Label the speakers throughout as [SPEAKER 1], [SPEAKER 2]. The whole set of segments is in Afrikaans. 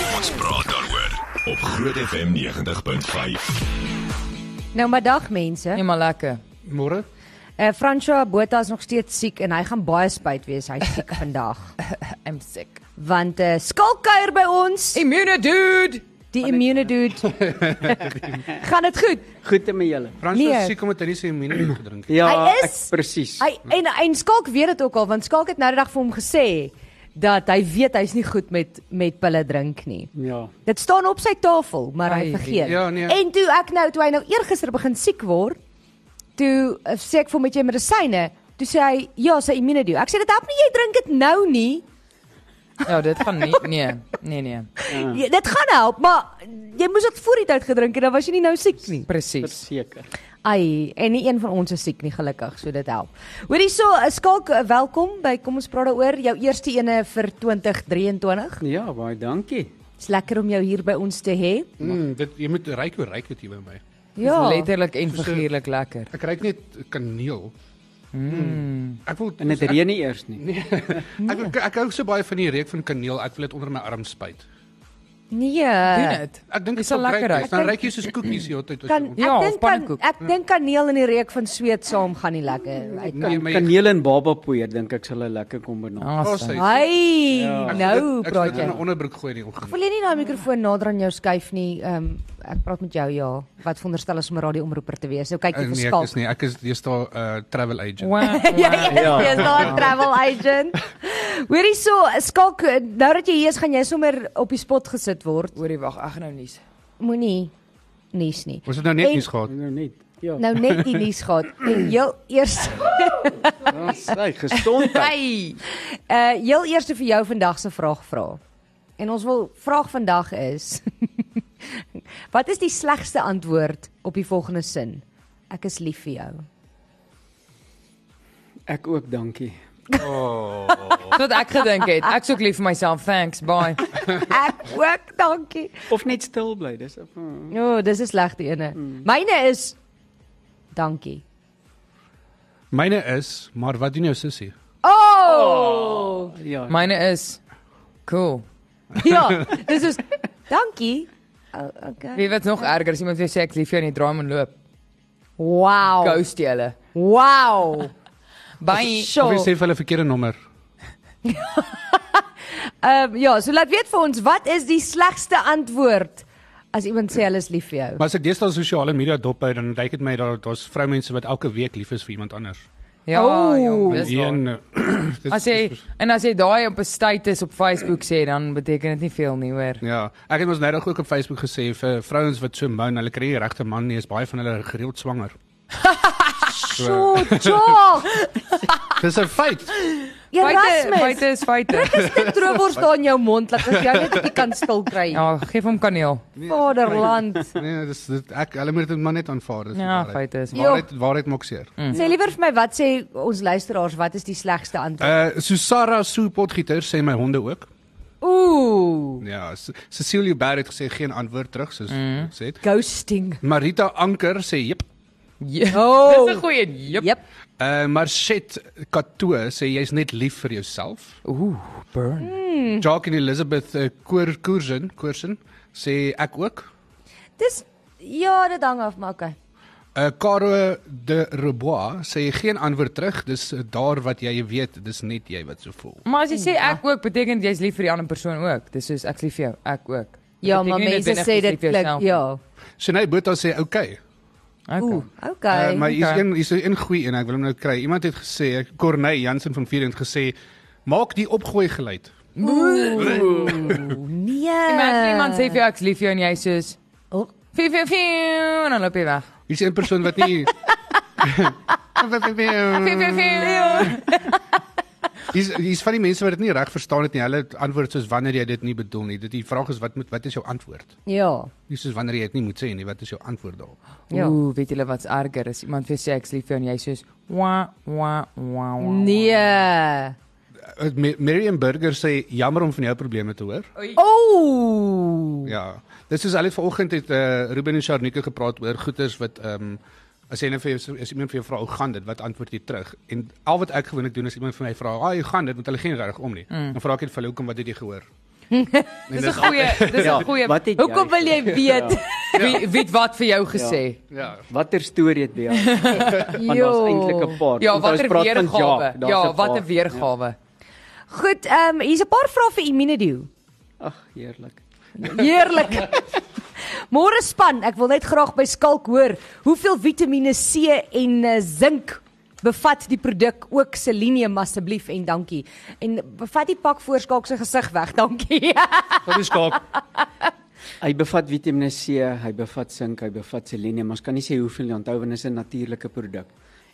[SPEAKER 1] Ons praat daaroor op Groot FM 90.5.
[SPEAKER 2] Nou maar dag mense.
[SPEAKER 3] Nee, maar lekker.
[SPEAKER 4] Môre?
[SPEAKER 2] Eh François Botha is nog steeds siek en hy gaan baie spyt wees. Hy's siek vandag.
[SPEAKER 3] I'm sick.
[SPEAKER 2] Want eh uh, skulkuier by ons,
[SPEAKER 3] Immune dude.
[SPEAKER 2] die immune dude. gaan dit goed?
[SPEAKER 5] Goed met julle.
[SPEAKER 4] Frans
[SPEAKER 2] Nee.
[SPEAKER 4] is siek omdat hy nie sy immuun gedrink het.
[SPEAKER 5] Ja,
[SPEAKER 2] Hy
[SPEAKER 5] ek
[SPEAKER 2] is-
[SPEAKER 5] presies.
[SPEAKER 2] Hy en en skulk weet dit ook al want skulk het nou die dag vir hom gesê dat hy weet hy's nie goed met met pille drink nie.
[SPEAKER 5] Ja.
[SPEAKER 2] Dit staan op sy tafel, maar hy
[SPEAKER 3] Ai,
[SPEAKER 2] vergeet.
[SPEAKER 4] ja, nee.
[SPEAKER 2] En toe ek nou toe hy nou eergister begin siek word, toe eh, sê ek vir hom met jy medisyne, toe sê hy ja, sy immunedio. Ek sê dit help nie jy drink dit nou nie.
[SPEAKER 3] Ja, dit gaan nie. Nee, nee, nee.
[SPEAKER 2] Ja, dit gaan help, maar jy moes dit voor die tyd gedrink en dan was jy nie nou siek nie.
[SPEAKER 3] Presies.
[SPEAKER 5] Verseker.
[SPEAKER 2] Ai, en nie een van ons is siek nie gelukkig, so dit help. Hoor hierso, eh, Skalk, eh, welkom by Kom ons praat daaroor, jou eerste ene vir 2023.
[SPEAKER 5] Ja, baie dankie.
[SPEAKER 2] Dis lekker om jou hier by ons te hê.
[SPEAKER 4] Mm, dit jy moet ryk hoe ryk dit hier by my.
[SPEAKER 3] Ja.
[SPEAKER 2] Ja.
[SPEAKER 3] Letterlik en
[SPEAKER 4] Soos 'n-
[SPEAKER 3] figuurlik lekker.
[SPEAKER 4] Ek ryk net kaneel. Mm. Ek wil
[SPEAKER 5] En dit
[SPEAKER 4] ek,
[SPEAKER 5] reën nie eers nie.
[SPEAKER 4] ek, ek, ek hou so baie van die reuk van kaneel. Ek wil dit onder my arm spuit.
[SPEAKER 3] Doen
[SPEAKER 2] Nee.
[SPEAKER 3] dit.
[SPEAKER 4] Ek dink
[SPEAKER 3] Dit
[SPEAKER 4] dit
[SPEAKER 3] sal
[SPEAKER 4] sal
[SPEAKER 3] lekker
[SPEAKER 4] ryk
[SPEAKER 3] ruik.
[SPEAKER 4] wees. Dan ryk jy soos koekies die hele tyd. as
[SPEAKER 2] Kan ek
[SPEAKER 4] jy om-
[SPEAKER 3] Ja, of
[SPEAKER 2] dink kan,
[SPEAKER 3] pannekoek.
[SPEAKER 2] ek dink kaneel en die reuk van sweet saam gaan nie lekker uit.
[SPEAKER 4] Nee,
[SPEAKER 5] Kan,
[SPEAKER 4] maar jy-
[SPEAKER 5] kaneel en babapoeier dink ek sal 'n lekker kombinasie.
[SPEAKER 3] Awesome.
[SPEAKER 2] Hy, nou
[SPEAKER 4] Ja. Ek
[SPEAKER 2] praat
[SPEAKER 4] praat
[SPEAKER 2] jy.
[SPEAKER 4] in 'n onderbroek gooi nie.
[SPEAKER 2] Wil jy nie daai mikrofoon nader aan jou skuif nie? Ehm um, ek praat met jou ja. Wat veronderstel is om 'n radioomroeper te wees. Nou kyk jy
[SPEAKER 4] Nee,
[SPEAKER 2] vir
[SPEAKER 4] ek is
[SPEAKER 2] Skalk.
[SPEAKER 4] nie. Ek is jy's daar 'n uh, travel agent.
[SPEAKER 3] Wow.
[SPEAKER 2] Ja,
[SPEAKER 3] wow.
[SPEAKER 2] ja, jy's daar 'n travel agent. Hoorie so, Skalk, nou dat jy hier is, gaan jy sommer op die spot gesit word.
[SPEAKER 3] Hoorie wag, ag nou nuus.
[SPEAKER 2] Moenie nuus nie.
[SPEAKER 4] Ons het nou net
[SPEAKER 2] En-
[SPEAKER 4] nuus gehad.
[SPEAKER 5] Nou net. Ja.
[SPEAKER 2] Nou net die nuus gehad. Heel eers
[SPEAKER 5] Ons sê gesondheid.
[SPEAKER 3] Hey.
[SPEAKER 2] uh heel eers vir jou vandag se vraag vra. En ons wil vraag vandag is Wat is die slegste antwoord op die volgende sin? Ek is lief vir jou.
[SPEAKER 5] Ek ook dankie.
[SPEAKER 3] Tot ek gedink het, ek soek lief vir myself. Thanks. Bye.
[SPEAKER 2] Ek ook, dankie.
[SPEAKER 5] Of net stil bly, dis op. Mm.
[SPEAKER 2] O, oh, dis 'n slegte ene.
[SPEAKER 3] Hmm.
[SPEAKER 2] Myne is dankie.
[SPEAKER 4] Myne is, maar wat doen jou sussie?
[SPEAKER 2] Oh!
[SPEAKER 5] Ja.
[SPEAKER 3] Myne is cool.
[SPEAKER 2] Ja, dis is dankie. Oh, okay.
[SPEAKER 3] Wie wat nog erger as iemand vir jou sê ek lief vir jou en jy draai hom en loop.
[SPEAKER 2] Wow.
[SPEAKER 3] Ghost jy hulle.
[SPEAKER 2] Wow.
[SPEAKER 3] Bye.
[SPEAKER 4] Of jy
[SPEAKER 2] Sjoe.
[SPEAKER 4] sê vir hulle verkeerde nommer.
[SPEAKER 2] Ehm ja, so laat weet vir ons wat is die slegste antwoord as iemand sê hulle is lief vir jou?
[SPEAKER 4] Maar as ek deesdae sosiale media dop hou, dan lyk dit my daar daar's vroumense wat elke week lief is vir iemand anders.
[SPEAKER 3] Ja,
[SPEAKER 2] Oh.
[SPEAKER 3] jong, dis waar.
[SPEAKER 4] Een eh, dis-
[SPEAKER 3] As jy en as jy daai op 'n status op Facebook sê, dan beteken dit nie veel nie, hoor.
[SPEAKER 4] Ja, ek het mos nou ook op Facebook gesê vir vrouens wat so moun, hulle kry nie die regte man nie, is baie van hulle gereeld swanger.
[SPEAKER 2] So, tog.
[SPEAKER 4] Dis 'n feit.
[SPEAKER 3] Feite, feite
[SPEAKER 2] Erasmus.
[SPEAKER 3] is feite.
[SPEAKER 2] Dis dit droewors daar in jou mond dat as jy net 'n bietjie kan stil kry.
[SPEAKER 3] Ja, geef hom kaneel.
[SPEAKER 2] Vaderland.
[SPEAKER 4] Nee, dis dit ek hulle moet dit maar net aanvaar, dis die
[SPEAKER 3] Ja, Mm.
[SPEAKER 4] waarheid.
[SPEAKER 3] feite is.
[SPEAKER 2] Jo.
[SPEAKER 4] Waarheid waarheid maak seer.
[SPEAKER 2] Sê liewer vir my wat sê ons luisteraars, wat is die slegste antwoord?
[SPEAKER 4] Uh Susara Soepotgieter sê my honde ook.
[SPEAKER 2] Ooh,
[SPEAKER 4] Ja, S- Cecilia Barr het gesê geen antwoord terug soos mm. sê. het.
[SPEAKER 2] ghosting.
[SPEAKER 4] Marita Anker sê jep.
[SPEAKER 3] Ja.
[SPEAKER 2] Oh. Ja.
[SPEAKER 3] Dis 'n goeie. Jep.
[SPEAKER 2] Jep.
[SPEAKER 4] Uh Marchet Kato sê jy's net lief vir jouself.
[SPEAKER 3] Ooh, burn.
[SPEAKER 4] Jacques en Elizabeth uh, Koer Koersen, Koersen sê ek ook.
[SPEAKER 2] Dis ja, dit hang af, maar okay.
[SPEAKER 4] Uh, Caro de Rebois sê geen antwoord terug. Dis eh, daar wat jy weet, dis net jy wat so voel.
[SPEAKER 3] Maar as jy sê
[SPEAKER 2] Ja.
[SPEAKER 3] ek ook, beteken dit jy's lief vir die ander persoon ook. Dis soos ek's lief vir jou, ek ook. Dit
[SPEAKER 2] Ja,
[SPEAKER 3] beteken
[SPEAKER 2] maar
[SPEAKER 3] nie
[SPEAKER 2] mense
[SPEAKER 3] noodwendig
[SPEAKER 2] sê
[SPEAKER 3] jy's
[SPEAKER 2] dit
[SPEAKER 3] lief vir
[SPEAKER 2] klink
[SPEAKER 3] jouself nie.
[SPEAKER 2] ja.
[SPEAKER 4] Sinay Botha sê okay.
[SPEAKER 3] Okay.
[SPEAKER 2] Ooh,
[SPEAKER 4] Uh, maar
[SPEAKER 2] okay.
[SPEAKER 4] hier's
[SPEAKER 3] okay.
[SPEAKER 4] een hier's een goeie een, ek wil hom nou kry. Iemand het gesê, eh, Corneille Jansen van Vieren het gesê, maak die opgooi geluid.
[SPEAKER 2] Nee.
[SPEAKER 3] Imagine iemand sê vir jou ek's lief vir jou en jy sê soos
[SPEAKER 2] Oh.
[SPEAKER 3] Fie fie fie en dan loop jy weg.
[SPEAKER 4] Hier's een persoon wat nie eh,
[SPEAKER 3] Fie fie fie.
[SPEAKER 4] Dis dis van die mense wat dit nie reg verstaan het nie. Hulle antwoord soos wanneer jy dit nie bedoel nie. Dit die vraag is wat moet wat is jou antwoord?
[SPEAKER 2] Ja.
[SPEAKER 4] Nie soos wanneer jy dit nie moet sê nie. Wat is jou antwoord daarop?
[SPEAKER 2] Ja.
[SPEAKER 3] Ooh, weet julle wat's erger as iemand vir jou sê ek's lief vir jou en jy sê soos wa wa wa wa.
[SPEAKER 2] Nee.
[SPEAKER 4] Uh, Ma- Miriam Burger sê jammer om van jou probleme te hoor.
[SPEAKER 2] Ooh.
[SPEAKER 4] Ja. Dis soos hulle het vanoggend het eh, Ruben en Sharnike gepraat oor goeters wat ehm as jy net vir jou as iemand vir jou vra hoe gaan dit, wat antwoord jy terug? En "Ah, al wat ek gewoonlik doen is iemand vir my vra, "Ag, hoe gaan dit?" want hulle geen reg om nie. Dan vra ek net vir hulle, "Hoekom wat het jy gehoor?" En
[SPEAKER 3] Dis 'n
[SPEAKER 4] dis
[SPEAKER 3] goeie,
[SPEAKER 2] Ja.
[SPEAKER 3] dis 'n goeie.
[SPEAKER 5] Ja, Wat het jy
[SPEAKER 2] Hoekom wil jy weet?
[SPEAKER 3] Wie weet wat vir jou gesê?
[SPEAKER 4] ja.
[SPEAKER 5] Watter storie het jy? Want daar's
[SPEAKER 2] Jo.
[SPEAKER 5] eintlik 'n paar.
[SPEAKER 3] Ja,
[SPEAKER 5] Want ons
[SPEAKER 3] watter
[SPEAKER 5] praat van
[SPEAKER 3] weergawe?
[SPEAKER 5] Jaak, daar's
[SPEAKER 3] Ja,
[SPEAKER 5] 'n paar.
[SPEAKER 3] watter weergawe?
[SPEAKER 2] Goed, ehm hier's 'n paar vrae vir Immunedio.
[SPEAKER 5] Ag, heerlik.
[SPEAKER 2] Heerlik. Môre span, ek wil net graag by Skalk hoor, hoeveel Vitamiene C en eh, sink bevat die produk ook selenium asseblief en dankie. En bevat die pak voor Skalk se gesig weg, dankie.
[SPEAKER 4] Dit is skaak.
[SPEAKER 5] Hy bevat Vitamiene C, hy bevat sink, hy bevat selenium. Ons kan nie sê hoeveel nie onthou want dit is 'n natuurlike produk.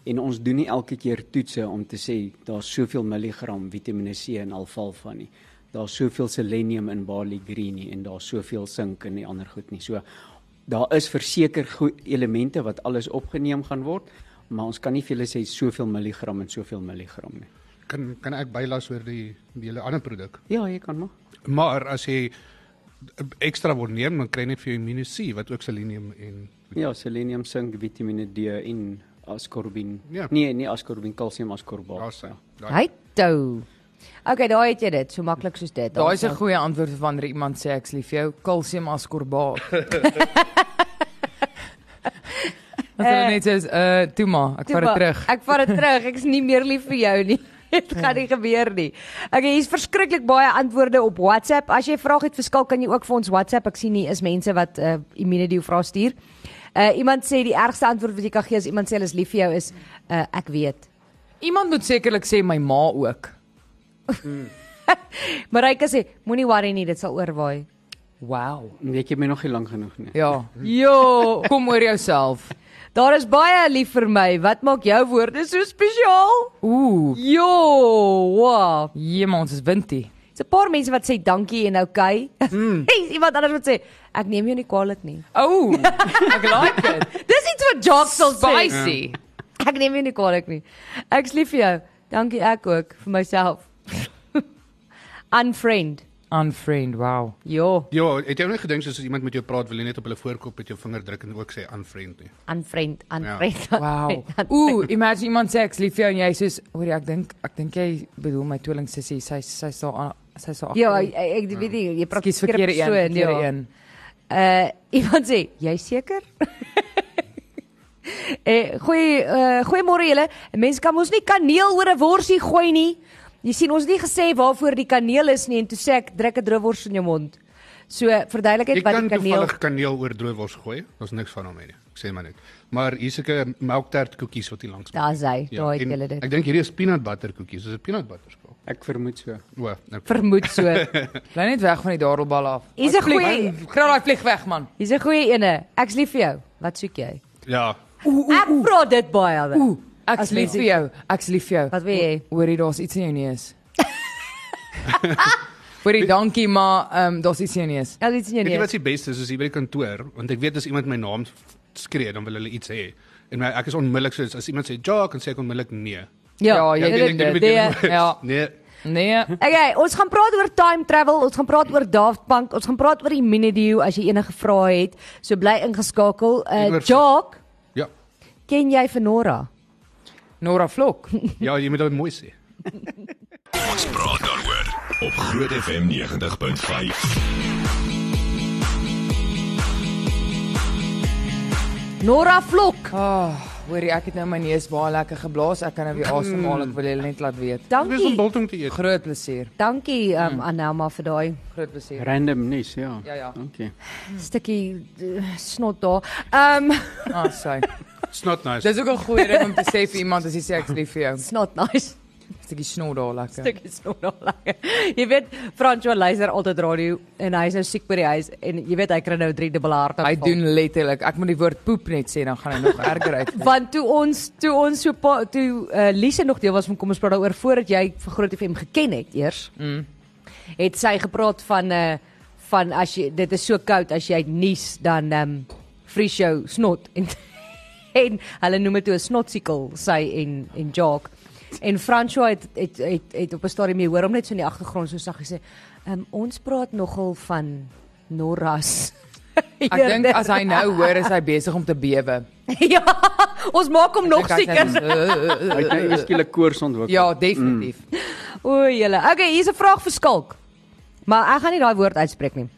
[SPEAKER 5] En ons doen nie elke keer toetse om te sê daar's soveel milligram Vitamiene C in alfalfa nie. Daar's soveel selenium in barley green nie en daar's soveel sink in die ander goed nie. So daar is verseker goe- elemente wat alles opgeneem gaan word, maar ons kan nie vir julle sê soveel milligram en soveel milligram nie.
[SPEAKER 4] Kan kan ek bylas oor die die hele ander produk?
[SPEAKER 5] Ja, jy kan maar.
[SPEAKER 4] Maar as jy ekstra wil neem, dan kry jy net vir jou Immuno C wat ook selenium en
[SPEAKER 5] Ja, selenium, sink, Vitamiene D en ascorbin.
[SPEAKER 4] Ja.
[SPEAKER 5] Nee, nie ascorbin, kalsium ascorbaat.
[SPEAKER 4] daar's hy. Daai-
[SPEAKER 2] Hy tou. Okay, daai het jy dit, so maklik soos dit.
[SPEAKER 3] Daai is 'n goeie antwoord vir wanneer iemand sê ek's lief vir jou, kalsium askorbaat. Wat hulle net sê, is, uh, toe maar, ek
[SPEAKER 2] Toe
[SPEAKER 3] vat dit
[SPEAKER 2] maar,
[SPEAKER 3] terug. Ja.
[SPEAKER 2] Ek vat dit terug. Ek's nie meer lief vir jou nie. Dit gaan nie gebeur nie. Okay, hier's verskriklik baie antwoorde op WhatsApp. As jy 'n vraag het vir Skalk, kan jy ook vir ons WhatsApp. Ek sien hier is mense wat uh immunity vrae stuur. Uh iemand sê die ergste antwoord wat jy kan gee as iemand sê hulle is lief vir jou is uh ek weet.
[SPEAKER 3] Iemand moet sekerlik sê my ma ook.
[SPEAKER 2] Marika sê moenie worry nie, dit sal oorwaai.
[SPEAKER 3] Wow.
[SPEAKER 5] Weet jy Nee, my nog nie lank genoeg nie.
[SPEAKER 3] Ja. Jo, kom oor jouself.
[SPEAKER 2] Daar is baie lief vir my. Wat maak jou woorde so spesiaal?
[SPEAKER 3] Ooh,
[SPEAKER 2] Jo, wow.
[SPEAKER 3] iemand is windie.
[SPEAKER 2] Dis 'n paar mense wat sê dankie en okay.
[SPEAKER 3] Hmm.
[SPEAKER 2] Mm. Iemand anders wat sê ek neem jou nie kwaadlik nie.
[SPEAKER 3] Ooh, ek like dit.
[SPEAKER 2] Dis iets wat Jacques sal sê.
[SPEAKER 3] Spicy.
[SPEAKER 2] Ek neem jou nie kwaadlik nie. Ek's lief vir jou. Dankie ek ook vir myself. Unfriend.
[SPEAKER 3] Unfriend, wow.
[SPEAKER 2] Jo,
[SPEAKER 4] Ja, het jy ook nie gedink soos as iemand met jou praat wil jy net op hulle voorkop met jou vinger druk en ook sê unfriend nie.
[SPEAKER 2] unfriend,
[SPEAKER 4] Ja.
[SPEAKER 2] unfriend.
[SPEAKER 3] Wow.
[SPEAKER 2] unfriend, unfriend.
[SPEAKER 3] Ooh, imagine iemand sê ek's lief vir jou en jy sê, "Hoor jy, ek dink, ek dink jy bedoel my tweeling sussie, sy sy sal aan- sy sal
[SPEAKER 2] Ja, ek, ek ek weet nie, jy praat
[SPEAKER 3] Skus verkeerde een, verkeerde
[SPEAKER 2] ja.
[SPEAKER 3] een.
[SPEAKER 2] Uh iemand sê, jy seker? eh goeie uh, goeiemôre julle. Mense kan mos nie kaneel oor 'n worsie gooi nie. Jy sien ons het nie gesê waarvoor die kaneel is nie en toe sê ek druk 'n droewors in jou mond. So verduidelik
[SPEAKER 4] Jy
[SPEAKER 2] net wat
[SPEAKER 4] kan
[SPEAKER 2] die kaneel
[SPEAKER 4] toevallig kaneel oor droewors gooi. Daar's niks van hom hier nie. Ek sê maar net. Maar hier's seker melktert koekies wat hier langs.
[SPEAKER 2] Daar's hy.
[SPEAKER 4] Ja,
[SPEAKER 2] Daar het
[SPEAKER 4] en
[SPEAKER 2] julle dit.
[SPEAKER 4] Ek dink hierdie is peanut butter koekies. Dis 'n peanut butter skaal.
[SPEAKER 5] Ek vermoed so.
[SPEAKER 4] O, okay.
[SPEAKER 2] Vermoed so.
[SPEAKER 3] Bly net weg van die dadelbal af.
[SPEAKER 2] Is
[SPEAKER 3] Hy
[SPEAKER 2] een
[SPEAKER 3] vlieg,
[SPEAKER 2] goeie-
[SPEAKER 3] hy- Kraal daai vlieg weg man.
[SPEAKER 2] Hier's 'n goeie ene. Ek's lief vir jou. Wat soek jy?
[SPEAKER 4] Ja.
[SPEAKER 2] Ek vra dit baie al.
[SPEAKER 3] Ooh, ek's
[SPEAKER 2] As
[SPEAKER 3] lief
[SPEAKER 2] mense-
[SPEAKER 3] vir jou. Ek's lief vir jou.
[SPEAKER 2] Wat wil jy?
[SPEAKER 3] Hoorie, daar's iets in jou neus. Hoorie, dankie maar, ehm um, daar's iets in jou neus.
[SPEAKER 2] Ja, dit is nie
[SPEAKER 4] Weet jy wat
[SPEAKER 2] nie.
[SPEAKER 4] se beste is as jy by die kantoor, want ek weet as iemand my naam f- skree dan wil hulle iets hê. En my, ek is onmiddellik soos as iemand sê Jacques en sê ek onmiddellik nee.
[SPEAKER 3] Ja, jy
[SPEAKER 4] ek
[SPEAKER 3] doen
[SPEAKER 4] dink
[SPEAKER 3] dit.
[SPEAKER 4] dit
[SPEAKER 2] Ja.
[SPEAKER 4] moet jy-
[SPEAKER 3] Ja.
[SPEAKER 4] Nee.
[SPEAKER 3] Nee.
[SPEAKER 2] Okay, ons gaan praat oor time travel, ons gaan praat oor Daft Punk, ons gaan praat oor Immunedio as jy enige vrae het. So bly ingeskakel.
[SPEAKER 4] En
[SPEAKER 2] Uh
[SPEAKER 4] oor-
[SPEAKER 2] Jock,
[SPEAKER 4] Ja.
[SPEAKER 2] ken jy vir Nora?
[SPEAKER 3] Nora Vlok.
[SPEAKER 4] Ja, jy moet dit mooi sê.
[SPEAKER 1] Ons praat daaroor op Groot FM 90.5.
[SPEAKER 2] Nora Vlok.
[SPEAKER 3] Ah, hoorie, ek het nou my neus baie lekker geblaas. Ek kan nou weer asemhaal. Ek wil julle net laat weet.
[SPEAKER 4] Ek is Hmm. om
[SPEAKER 2] Dankie.
[SPEAKER 4] biltong te eet.
[SPEAKER 3] Groot plesier.
[SPEAKER 2] Dankie um, Anelma vir daai
[SPEAKER 3] Groot plesier.
[SPEAKER 5] Random nuus, ja.
[SPEAKER 3] Ja, ja.
[SPEAKER 5] Okay.
[SPEAKER 2] stukkie uh, snot daar. Ehm um,
[SPEAKER 3] Ah, sorry.
[SPEAKER 4] It's not nice.
[SPEAKER 3] Dis ook 'n goeie ding om te sê vir iemand as jy sê ek's lief vir jou.
[SPEAKER 2] snot nice.
[SPEAKER 3] Stukkie snor daar lekker.
[SPEAKER 2] Stukkie snot daar lekker. Jy weet Francois luister altyd radio en hy is nou siek by die huis en jy weet hy kry nou 3 dubbel harte.
[SPEAKER 3] Hy doen letterlik. Ek moet die woord poep net sê dan gaan hy nog erger uit.
[SPEAKER 2] want toe ons toe ons so pa, toe uh, Lise nog deel was van kom ons praat daaroor voordat jy vir Groot FM geken het eers. Mm. Het sy gepraat van uh van as jy dit is so koud as jy nies dan ehm um, vries jou snot en en hulle noem dit toe 'n snotsiekel sy en en Jock. En François het het het, het op 'n stadium jy hoor hom net so in die agtergrond so sag gesê, "Ehm um, ons praat nogal van Norras."
[SPEAKER 3] Ek dink as hy nou hoor is hy besig om te bewe.
[SPEAKER 2] ja, ons maak hom nog sieker.
[SPEAKER 5] Hy het nou eers skielik koors ontwikkel.
[SPEAKER 2] Mm.
[SPEAKER 3] Ja, definitief.
[SPEAKER 2] O, julle. Okay, hier's 'n vraag vir Skalk. Maar ek gaan nie daai woord uitspreek nie.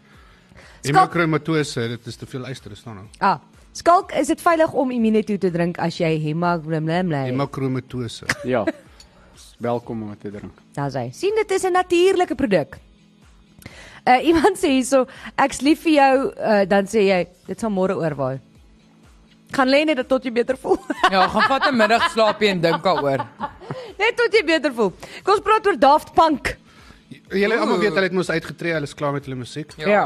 [SPEAKER 2] Skalk-
[SPEAKER 4] Hemokromatose, dit is te veel yster, staan nou.
[SPEAKER 2] Ah, skalk is dit veilig om Immunito te drink as jy hemagglomlomlei.
[SPEAKER 4] Hemokromatose.
[SPEAKER 5] Ja. Welkom om het te drink.
[SPEAKER 2] Daar's hy. sien dit is 'n natuurlike produk. Uh iemand sê hierso, ek's lief vir jou, uh, dan sê jy, dit sal môre oorwaai. Gaan lê net tot jy beter voel.
[SPEAKER 3] Ja, gaan vat 'n middagslaapie en dink daaroor.
[SPEAKER 2] net tot jy beter voel. Kom ons praat oor Daft Punk.
[SPEAKER 4] Julle almal weet hulle het mos uitgetree, hulle is klaar met hulle musiek.
[SPEAKER 3] Ja. ja.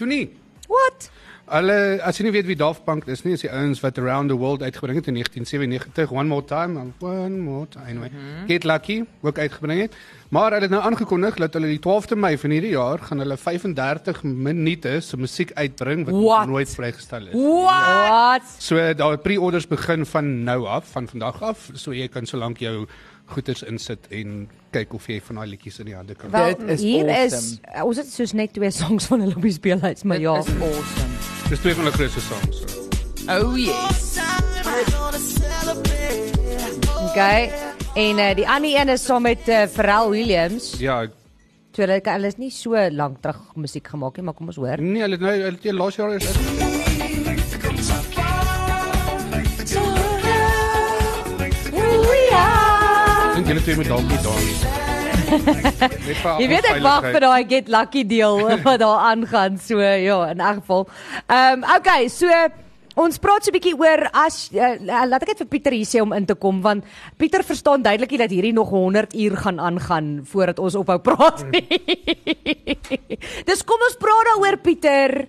[SPEAKER 4] Toe nie.
[SPEAKER 2] What?
[SPEAKER 4] Hulle as jy nie weet wie Daft Punk is nie, is die ouens wat Around the World uitgebring het in 1997, One More Time, and One More Time. Anyway. Mm
[SPEAKER 3] Mhm.
[SPEAKER 4] -hmm. Get Lucky ook uitgebring het. Maar hulle het nou aangekondig dat hulle die 12de Mei van hierdie jaar gaan hulle 35 minute se musiek uitbring wat
[SPEAKER 3] What?
[SPEAKER 4] nog nooit vrygestel is.
[SPEAKER 3] Wow.
[SPEAKER 2] What?
[SPEAKER 4] So daar pre-orders begin van nou af, van vandag af, so jy kan solank jou goeders insit en kyk of jy van daai liedjies in die hande kan.
[SPEAKER 2] Wel,
[SPEAKER 3] Dit is
[SPEAKER 2] hier is
[SPEAKER 3] awesome.
[SPEAKER 2] uh, ons het soos net twee songs van hulle op die speelhuis, maar ja.
[SPEAKER 3] Dit is awesome.
[SPEAKER 4] Dis twee van hulle grootste songs. So.
[SPEAKER 3] Oh yes.
[SPEAKER 2] Okay. En uh, die ander een is saam met uh, Pharrell Williams.
[SPEAKER 4] Ja,
[SPEAKER 2] So hulle kan hulle is nie so lank terug musiek gemaak nie, maar kom ons hoor.
[SPEAKER 4] nee, hulle het nou hulle het hier laas jaar is Ek dink julle twee moet dalk nie dans. Net vir
[SPEAKER 2] Jy weet ek wag vir daai get lucky deel wat daar aangaan. So ja, in elk geval. Ehm um, okay, so ons praat so 'n bietjie oor as uh, laat ek dit vir Pieter hier sê om in te kom want Pieter verstaan duidelik nie dat hierdie nog 100 uur gaan aangaan voordat ons ophou praat nie. Dis kom ons praat daaroor Pieter.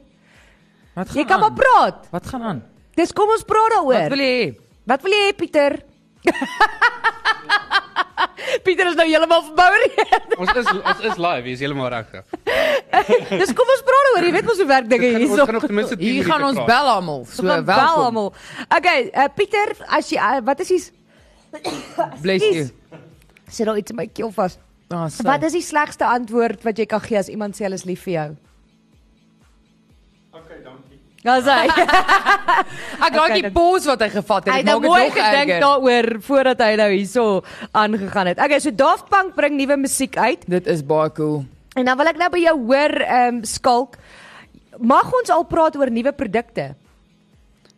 [SPEAKER 3] Wat gaan
[SPEAKER 2] Jy kan
[SPEAKER 3] aan?
[SPEAKER 2] maar praat.
[SPEAKER 3] Wat gaan aan?
[SPEAKER 2] Dis kom ons praat
[SPEAKER 3] Wat wil
[SPEAKER 2] daaroor.
[SPEAKER 3] jy hê?
[SPEAKER 2] Wat wil jy hê Pieter? Pieter is nou heeltemal verbou.
[SPEAKER 4] Ons is ons is live, is heeltemal reg. ja.
[SPEAKER 2] Dis kom ons praat oor, jy weet mos hoe werk dinge
[SPEAKER 4] Kan-
[SPEAKER 2] hier
[SPEAKER 4] Ons
[SPEAKER 2] so.
[SPEAKER 4] kan nog ten minste 10
[SPEAKER 3] Hier
[SPEAKER 4] minute
[SPEAKER 3] gaan ons
[SPEAKER 4] praat.
[SPEAKER 3] bel almal. So welkom.
[SPEAKER 2] almal. Okay, uh, Pieter, as jy uh, wat is die
[SPEAKER 3] Bless you.
[SPEAKER 2] Excuse. sit daar iets in my keel vas.
[SPEAKER 3] Ah,
[SPEAKER 2] So.
[SPEAKER 3] so.
[SPEAKER 2] Wat is die slegste antwoord wat jy kan gee as iemand sê hulle is lief vir jou? Okay, dankie. Ja, sê.
[SPEAKER 3] Ek like
[SPEAKER 2] Okay,
[SPEAKER 3] die
[SPEAKER 2] dan-
[SPEAKER 3] pose wat hy gevat het.
[SPEAKER 2] Hy het
[SPEAKER 3] Dit
[SPEAKER 2] nou
[SPEAKER 3] maak dit
[SPEAKER 2] mooi
[SPEAKER 3] nog
[SPEAKER 2] gedink
[SPEAKER 3] erger.
[SPEAKER 2] daaroor voordat hy nou hierso aangegaan het. Okay, so Daft Punk bring nuwe musiek uit
[SPEAKER 3] Dit is baie cool.
[SPEAKER 2] en dan wil ek nou by jou hoor, ehm um, Skalk, mag ons al praat oor nuwe produkte?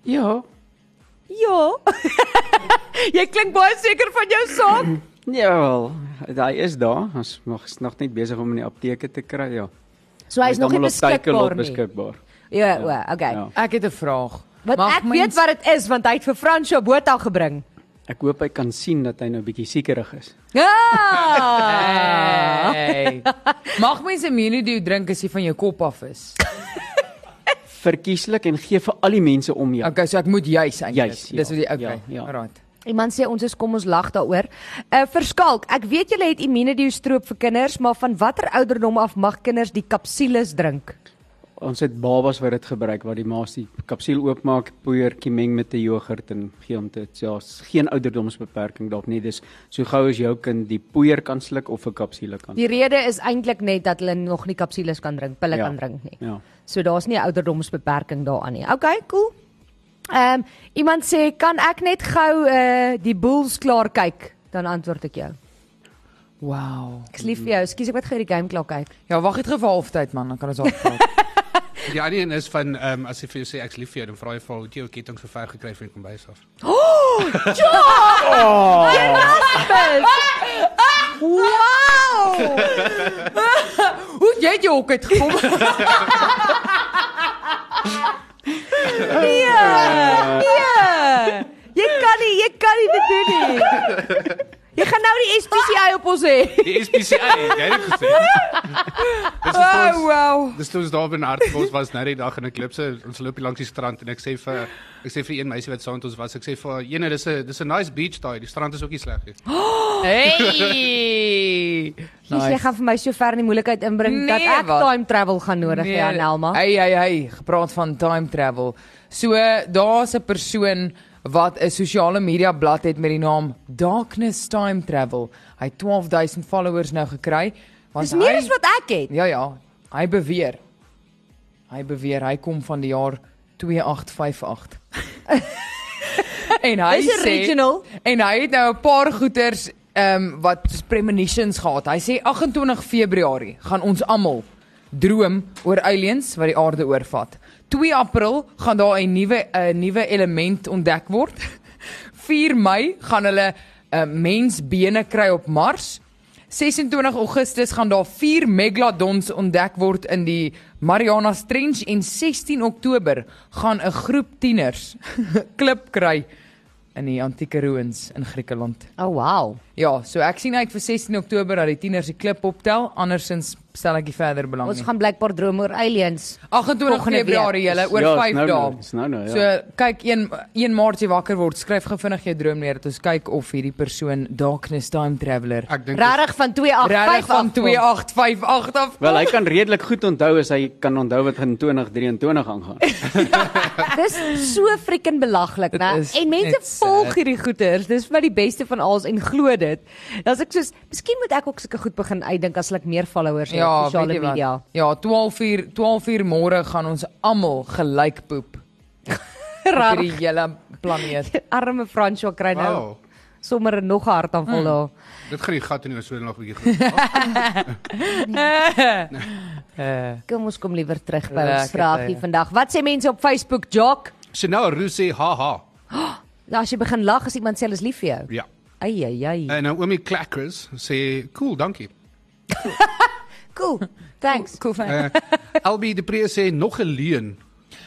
[SPEAKER 5] Ja.
[SPEAKER 2] Ja. jy klink baie seker van jou saak.
[SPEAKER 5] Ja wel, daai is daar. Ons mag is nog net besig om in die apteke te kry, ja.
[SPEAKER 2] So hy's
[SPEAKER 5] Met
[SPEAKER 2] nog nie
[SPEAKER 5] allemaal op
[SPEAKER 2] beskikbaar
[SPEAKER 5] Takealot
[SPEAKER 2] nie.
[SPEAKER 5] beskikbaar.
[SPEAKER 2] Ja, o, okay.
[SPEAKER 5] Ja.
[SPEAKER 3] Ek het 'n vraag.
[SPEAKER 2] Want ek weet wat dit is want hy het vir Fransjo Botha gebring.
[SPEAKER 5] Ek hoop hy kan sien dat hy nou bietjie siekerig is.
[SPEAKER 2] Ja!
[SPEAKER 3] Hey. Mag mens immunity drink as jy van jou kop af is.
[SPEAKER 5] Verkieslik en gee vir al die mense om jou.
[SPEAKER 3] Okay, so ek moet juis eintlik.
[SPEAKER 5] Juis, ja,
[SPEAKER 3] Dis wat die okay.
[SPEAKER 5] ja, ja.
[SPEAKER 3] Alraai.
[SPEAKER 2] Iemand sê ons is kom ons lag daaroor. Uh verskalk, ek weet julle het Immunedio stroop vir kinders, maar van watter ouderdom af mag kinders die kapsules drink?
[SPEAKER 5] Ons het babas wat dit gebruik waar die ma's die kapsule oopmaak, poeiertjie meng met 'n jogurt en gee hom dit. Ja, is geen ouderdomsbeperking daarop nie. Dis so gou as jou kind die poeier kan sluk of 'n kapsule kan.
[SPEAKER 2] Die rede is eintlik net dat hulle nog nie kapsules kan drink, pille ja. kan drink nie.
[SPEAKER 5] Ja.
[SPEAKER 2] So daar's nie 'n ouderdomsbeperking daaraan nie. Okay, cool. Ehm um, iemand sê kan ek net gou uh die boels klaar kyk? Dan antwoord ek jou.
[SPEAKER 3] Wow.
[SPEAKER 2] Ek's lief vir jou. Ekskuus, ek wat gou die game klaar kyk.
[SPEAKER 3] Ja, wag dit vir halftyd man, dan kan ons al praat.
[SPEAKER 4] Die ander een is van ehm um, as jy vir jou sê ek's lief vir jou, dan vra jy vir hom, "Het jy jou ketting so ver gekry van die kombuis af?"
[SPEAKER 2] Wow!
[SPEAKER 3] Hoe het jy het jou ook uitgekom?
[SPEAKER 2] Nee! Nee! Jy kan nie, jy kan nie dit doen nie. Jy gaan nou die SPCA op ons hê.
[SPEAKER 4] Die SPCA, jy het dit gesê. Dis toe
[SPEAKER 3] Oh
[SPEAKER 4] ons-
[SPEAKER 3] wow.
[SPEAKER 4] Dis toe ons daar by Hartbos was nou die dag in 'n klipse, ons loop hier langs die strand en ek sê vir ek sê vir een meisie wat saam met ons was, ek sê vir haar, "Jene, dis 'n dis 'n nice beach daai, die strand is ook nie sleg nie."
[SPEAKER 3] Hey.
[SPEAKER 2] Nice. Jy gaan vir my so ver in die moeilikheid inbring nee, dat
[SPEAKER 3] Nee,
[SPEAKER 2] ek
[SPEAKER 3] wat?
[SPEAKER 2] wat? time travel gaan nodig hê, nee, Nelma.
[SPEAKER 3] Hey hey hey, gepraat van time travel. So daar's 'n persoon wat 'n sosiale media blad het met die naam Darkness Time Travel. Hy het 12000 followers nou gekry. want
[SPEAKER 2] Dis meer
[SPEAKER 3] hy-
[SPEAKER 2] as wat ek het.
[SPEAKER 3] Ja ja, hy beweer. Hy beweer hy kom van die jaar 2858. en hy
[SPEAKER 2] Dis
[SPEAKER 3] sê
[SPEAKER 2] original.
[SPEAKER 3] en hy het nou 'n paar goeters ehm um, wat soos premonitions gehad. Hy sê 28 Februarie gaan ons almal droom oor aliens wat die aarde oorvat. 2 April gaan daar 'n nuwe 'n nuwe element ontdek word. 4 Mei gaan hulle 'n mensbene kry op Mars. 26 Augustus gaan daar 4 megalodons ontdek word in die Mariana Trench en 16 Oktober gaan 'n groep tieners klip kry in die antieke ruïns in Griekeland.
[SPEAKER 2] Oh wow.
[SPEAKER 3] Ja, so ek sien uit vir 16 Oktober dat die tieners die klip optel, andersins stel ek nie verder belang
[SPEAKER 2] Ons
[SPEAKER 3] nie.
[SPEAKER 2] gaan blykbaar droom oor aliens.
[SPEAKER 3] 28
[SPEAKER 2] volgende
[SPEAKER 3] Februarie
[SPEAKER 2] week.
[SPEAKER 3] julle oor
[SPEAKER 5] Ja, is
[SPEAKER 3] 5
[SPEAKER 5] nou nou,
[SPEAKER 3] dae.
[SPEAKER 5] is nou nou, ja.
[SPEAKER 3] So kyk 1 1 Maart jy wakker word, skryf gou vinnig jou droom neer dat ons kyk of hierdie persoon Darkness Time Traveler
[SPEAKER 4] Ek dink dis-
[SPEAKER 2] Regtig van 285
[SPEAKER 3] regtig van 2858 af.
[SPEAKER 5] Wel, hy kan redelik goed onthou as hy kan onthou wat in 2023 aangaan.
[SPEAKER 3] Ja,
[SPEAKER 2] Dis so freaking belaglik,
[SPEAKER 3] Dit
[SPEAKER 2] né?
[SPEAKER 3] is
[SPEAKER 2] En mense
[SPEAKER 3] net sad.
[SPEAKER 2] volg hierdie goeters. Dis vir my die beste van alles en glo dit. Dan's ek soos, miskien moet ek ook sulke goed begin uitdink as ek meer followers het
[SPEAKER 3] Ja,
[SPEAKER 2] op
[SPEAKER 3] weet
[SPEAKER 2] sosiale
[SPEAKER 3] jy
[SPEAKER 2] media.
[SPEAKER 3] wat? Ja, 12 uur 12 uur môre gaan ons almal gelyk poep op
[SPEAKER 2] Rarig.
[SPEAKER 3] hierdie hele planeet.
[SPEAKER 2] Arme Fransjo kry nou
[SPEAKER 4] Wow.
[SPEAKER 2] sommer nog 'n
[SPEAKER 3] Mm.
[SPEAKER 2] hartaanval daar.
[SPEAKER 4] Dit gaan die gat in jou so nog 'n bietjie goed.
[SPEAKER 3] Uh,
[SPEAKER 2] Kom ons kom liewer terug by ons
[SPEAKER 3] Lekker
[SPEAKER 2] vraagie
[SPEAKER 3] tye.
[SPEAKER 2] vandag. Wat sê mense op Facebook, Jock?
[SPEAKER 4] Chanel Roo sê haha.
[SPEAKER 2] Nou, as jy begin lag as iemand sê hulle is lief vir jou.
[SPEAKER 4] Ja.
[SPEAKER 2] Ai ai ai.
[SPEAKER 4] En Naomi Clackers sê cool, dankie.
[SPEAKER 2] Cool. Thanks.
[SPEAKER 3] cool fyn.
[SPEAKER 4] Uh, LB de Pre sê nog 'n leuen.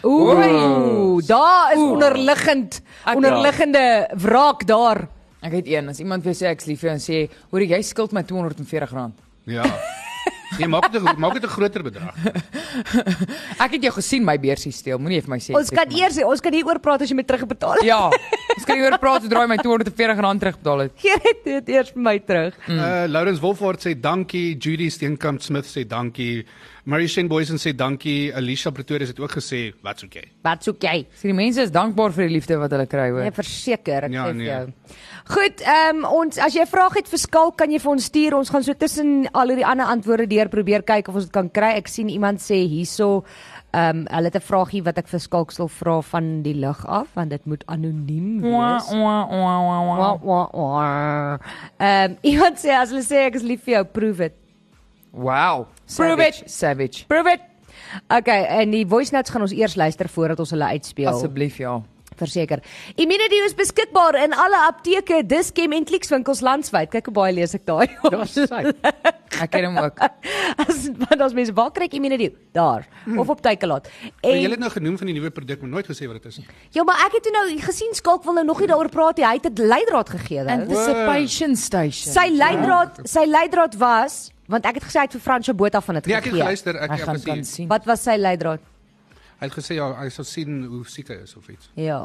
[SPEAKER 2] Ooh, daar is onderliggend
[SPEAKER 3] Ek-
[SPEAKER 2] onderliggende wraak daar.
[SPEAKER 3] Ek het een, as iemand vir jou sê ek's lief vir jou en sê, "Hoor jy skuld my R240."
[SPEAKER 4] Ja. Jy maak dit maak dit 'n groter bedrag.
[SPEAKER 3] Ek het jou gesien my beursie steel, moenie vir my sê.
[SPEAKER 2] Ons
[SPEAKER 3] sê
[SPEAKER 2] kan
[SPEAKER 3] vir my.
[SPEAKER 2] eers ons kan hieroor praat as jy my terugbetaal.
[SPEAKER 3] Ja. Ons kan hieroor praat, draai my R240 terugbetaal het.
[SPEAKER 2] Gee dit dit eers vir my terug.
[SPEAKER 4] Mm. Uh Lawrence Wolford sê dankie, Judy Steenkamp Smith sê dankie, Marie Shane Boysen sê dankie, Alicia Pretoria het ook gesê wat's okay.
[SPEAKER 2] Wat soek jy?
[SPEAKER 3] So die mense is dankbaar vir die liefde wat hulle kry hoor.
[SPEAKER 2] Nee, verseker, ek ja,
[SPEAKER 4] Ja,
[SPEAKER 2] sê vir
[SPEAKER 4] nee.
[SPEAKER 2] jou. Goed, ehm ons as jy 'n vraag het vir Skalk, kan jy vir ons stuur. Ons gaan so tussen al hierdie ander antwoorde deur probeer kyk of ons dit kan kry. Ek sien iemand sê hierso ehm hulle het 'n vraagie wat ek vir Skalk sal vra van die lug af, want dit moet anoniem
[SPEAKER 3] Wa,
[SPEAKER 2] wees.
[SPEAKER 3] wa, wa, wa, wa.
[SPEAKER 2] Wa wa wa. Ehm iemand sê as hulle sê ek is lief vir jou, prove dit.
[SPEAKER 3] Wow.
[SPEAKER 2] Prove it.
[SPEAKER 3] Savage, savage.
[SPEAKER 2] Prove dit. Okay, en die voice notes gaan ons eers luister voordat ons hulle uitspeel.
[SPEAKER 3] Asseblief ja.
[SPEAKER 2] Verseker. Immunity is beskikbaar in alle apteke, Dischem en Clicks winkels landwyd. Kyk hoe baie lees ek daai.
[SPEAKER 5] Daar's hy.
[SPEAKER 3] Ek ken hom ook.
[SPEAKER 2] As want as mense waar kry ek Immunity? Daar of op Takealot.
[SPEAKER 4] Maar jy
[SPEAKER 2] En
[SPEAKER 4] het nou genoem van die nuwe produk, maar nooit gesê wat dit is nie.
[SPEAKER 2] ja, maar ek het toe nou gesien Skalk wil nou nog nie daaroor praat nie. Hy het 'n leidraad gegee. dan.
[SPEAKER 3] Anticipation station.
[SPEAKER 2] Sy leidraad, sy leidraad was want ek het gesê hy het vir Fransjo Botha van dit
[SPEAKER 4] Nee, ek het
[SPEAKER 2] gegee.
[SPEAKER 4] geluister, ek
[SPEAKER 3] Hy
[SPEAKER 4] ek
[SPEAKER 3] gaan
[SPEAKER 4] het
[SPEAKER 3] kan
[SPEAKER 4] gesien.
[SPEAKER 3] sien.
[SPEAKER 2] Wat was sy leidraad?
[SPEAKER 4] Hy het gesê ja, hy sal sien hoe siek hy is of iets.
[SPEAKER 2] Ja.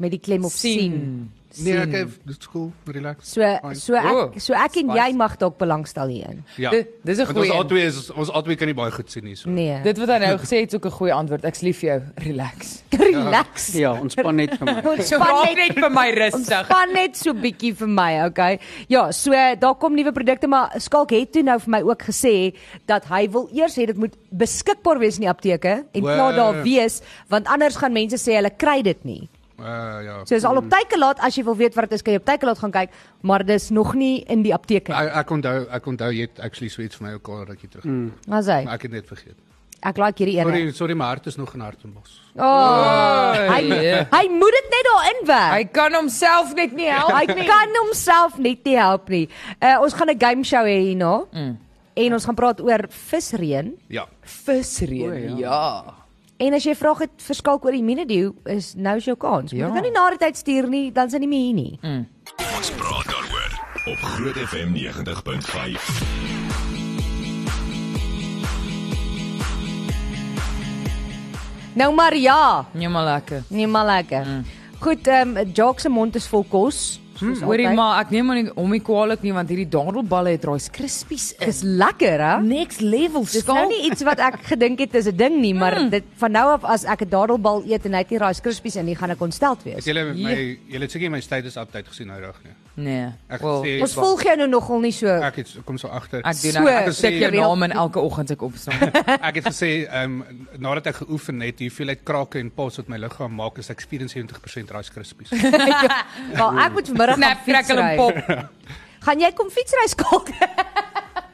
[SPEAKER 2] Met die klem op sien.
[SPEAKER 4] Nee, ek het dit cool, relax.
[SPEAKER 2] So so
[SPEAKER 3] Oh,
[SPEAKER 2] ek so ek en
[SPEAKER 3] spicy.
[SPEAKER 2] jy mag dalk belangstel hierin.
[SPEAKER 4] Ja.
[SPEAKER 3] Di- dis 'n
[SPEAKER 4] Want
[SPEAKER 3] goeie
[SPEAKER 4] Ons
[SPEAKER 3] een.
[SPEAKER 4] albei is ons albei kan nie baie goed sien nie so.
[SPEAKER 2] Nee.
[SPEAKER 3] Dit wat hy nou gesê het is ook 'n goeie antwoord. Ek's lief vir jou. Relax.
[SPEAKER 2] relax.
[SPEAKER 5] Ja, ontspan net vir my.
[SPEAKER 3] So
[SPEAKER 2] Ontspan
[SPEAKER 3] raak
[SPEAKER 2] net
[SPEAKER 3] net vir my rustig.
[SPEAKER 2] Ontspan net so bietjie vir my, okay? Ja, so daar kom nuwe produkte, maar Skalk het toe nou vir my ook gesê dat hy wil eers hê dit moet beskikbaar wees in die apteke en
[SPEAKER 4] Wow.
[SPEAKER 2] klaar daar wees, want anders gaan mense sê hulle kry dit nie.
[SPEAKER 4] Uh ja.
[SPEAKER 2] So is al op Takealot as jy wil weet wat dit is, kan jy op Takealot gaan kyk, maar dis nog nie in die apteke nie.
[SPEAKER 4] Ek ek onthou, ek onthou jy het actually so iets vir my ook al rukkie terug. Mm.
[SPEAKER 2] Maar sê,
[SPEAKER 4] Maar ek het net vergeet.
[SPEAKER 2] ek like hierdie een.
[SPEAKER 4] Sorry, sorry, my hart is nog in Hartenbos.
[SPEAKER 2] Oh, hy
[SPEAKER 3] yeah.
[SPEAKER 2] hy moet dit net daar inwerk.
[SPEAKER 3] Hy kan homself net nie help.
[SPEAKER 2] Hy kan homself net nie help nie. Uh, ons gaan 'n game show hê hierna. Mm. En ons gaan praat oor visreën.
[SPEAKER 4] Ja.
[SPEAKER 3] Visreën.
[SPEAKER 5] O, ja.
[SPEAKER 3] Ja.
[SPEAKER 2] En as jy vrae het verskilk oor immunity, is nou is jou kans. Moet
[SPEAKER 3] Ja.
[SPEAKER 2] ja. nou nie na die tyd stuur nie, dan is hy nie meer hier nie. Mm.
[SPEAKER 1] Ons praat daaroor op Groot FM 90.5.
[SPEAKER 2] Nou maar ja,
[SPEAKER 3] Nee maar lekker.
[SPEAKER 2] nee maar lekker. Mm. Goed, ehm um, Jacques se mond is vol kos. soos
[SPEAKER 3] Hoorie
[SPEAKER 2] altyd.
[SPEAKER 3] maar ek neem maar nie hom nie kwaadlik nie want hierdie dadelballe het raais krispies in.
[SPEAKER 2] Dis lekker, hè?
[SPEAKER 3] Next level
[SPEAKER 2] Dis nou
[SPEAKER 3] skaal.
[SPEAKER 2] nie iets wat ek gedink het is 'n ding nie, maar mm. dit van nou af as ek 'n dadelbal eet en hy het nie Rice Krispies in nie, gaan ek ontsteld
[SPEAKER 4] Het
[SPEAKER 2] wees.
[SPEAKER 4] julle my julle het seker my status update gesien nou reg nie.
[SPEAKER 3] Nee.
[SPEAKER 4] Ek
[SPEAKER 3] wel,
[SPEAKER 4] sê
[SPEAKER 2] Ons volg jou nou nogal nie so.
[SPEAKER 4] ek het kom so agter.
[SPEAKER 3] Ek doen
[SPEAKER 2] So,
[SPEAKER 3] nou, ek
[SPEAKER 4] sê-
[SPEAKER 3] tik jou naam in elke oggend as ek opstaan.
[SPEAKER 4] Ek het gesê ehm um, nadat ek geoefen het, die hoeveelheid krake en pos wat my liggaam maak is ek 74% Rice Krispies.
[SPEAKER 2] Maar ek moet vanmiddag gaan
[SPEAKER 3] Snap,
[SPEAKER 2] fietsry.
[SPEAKER 3] crackle en pop.
[SPEAKER 2] Gaan jy kom fietsry skalk?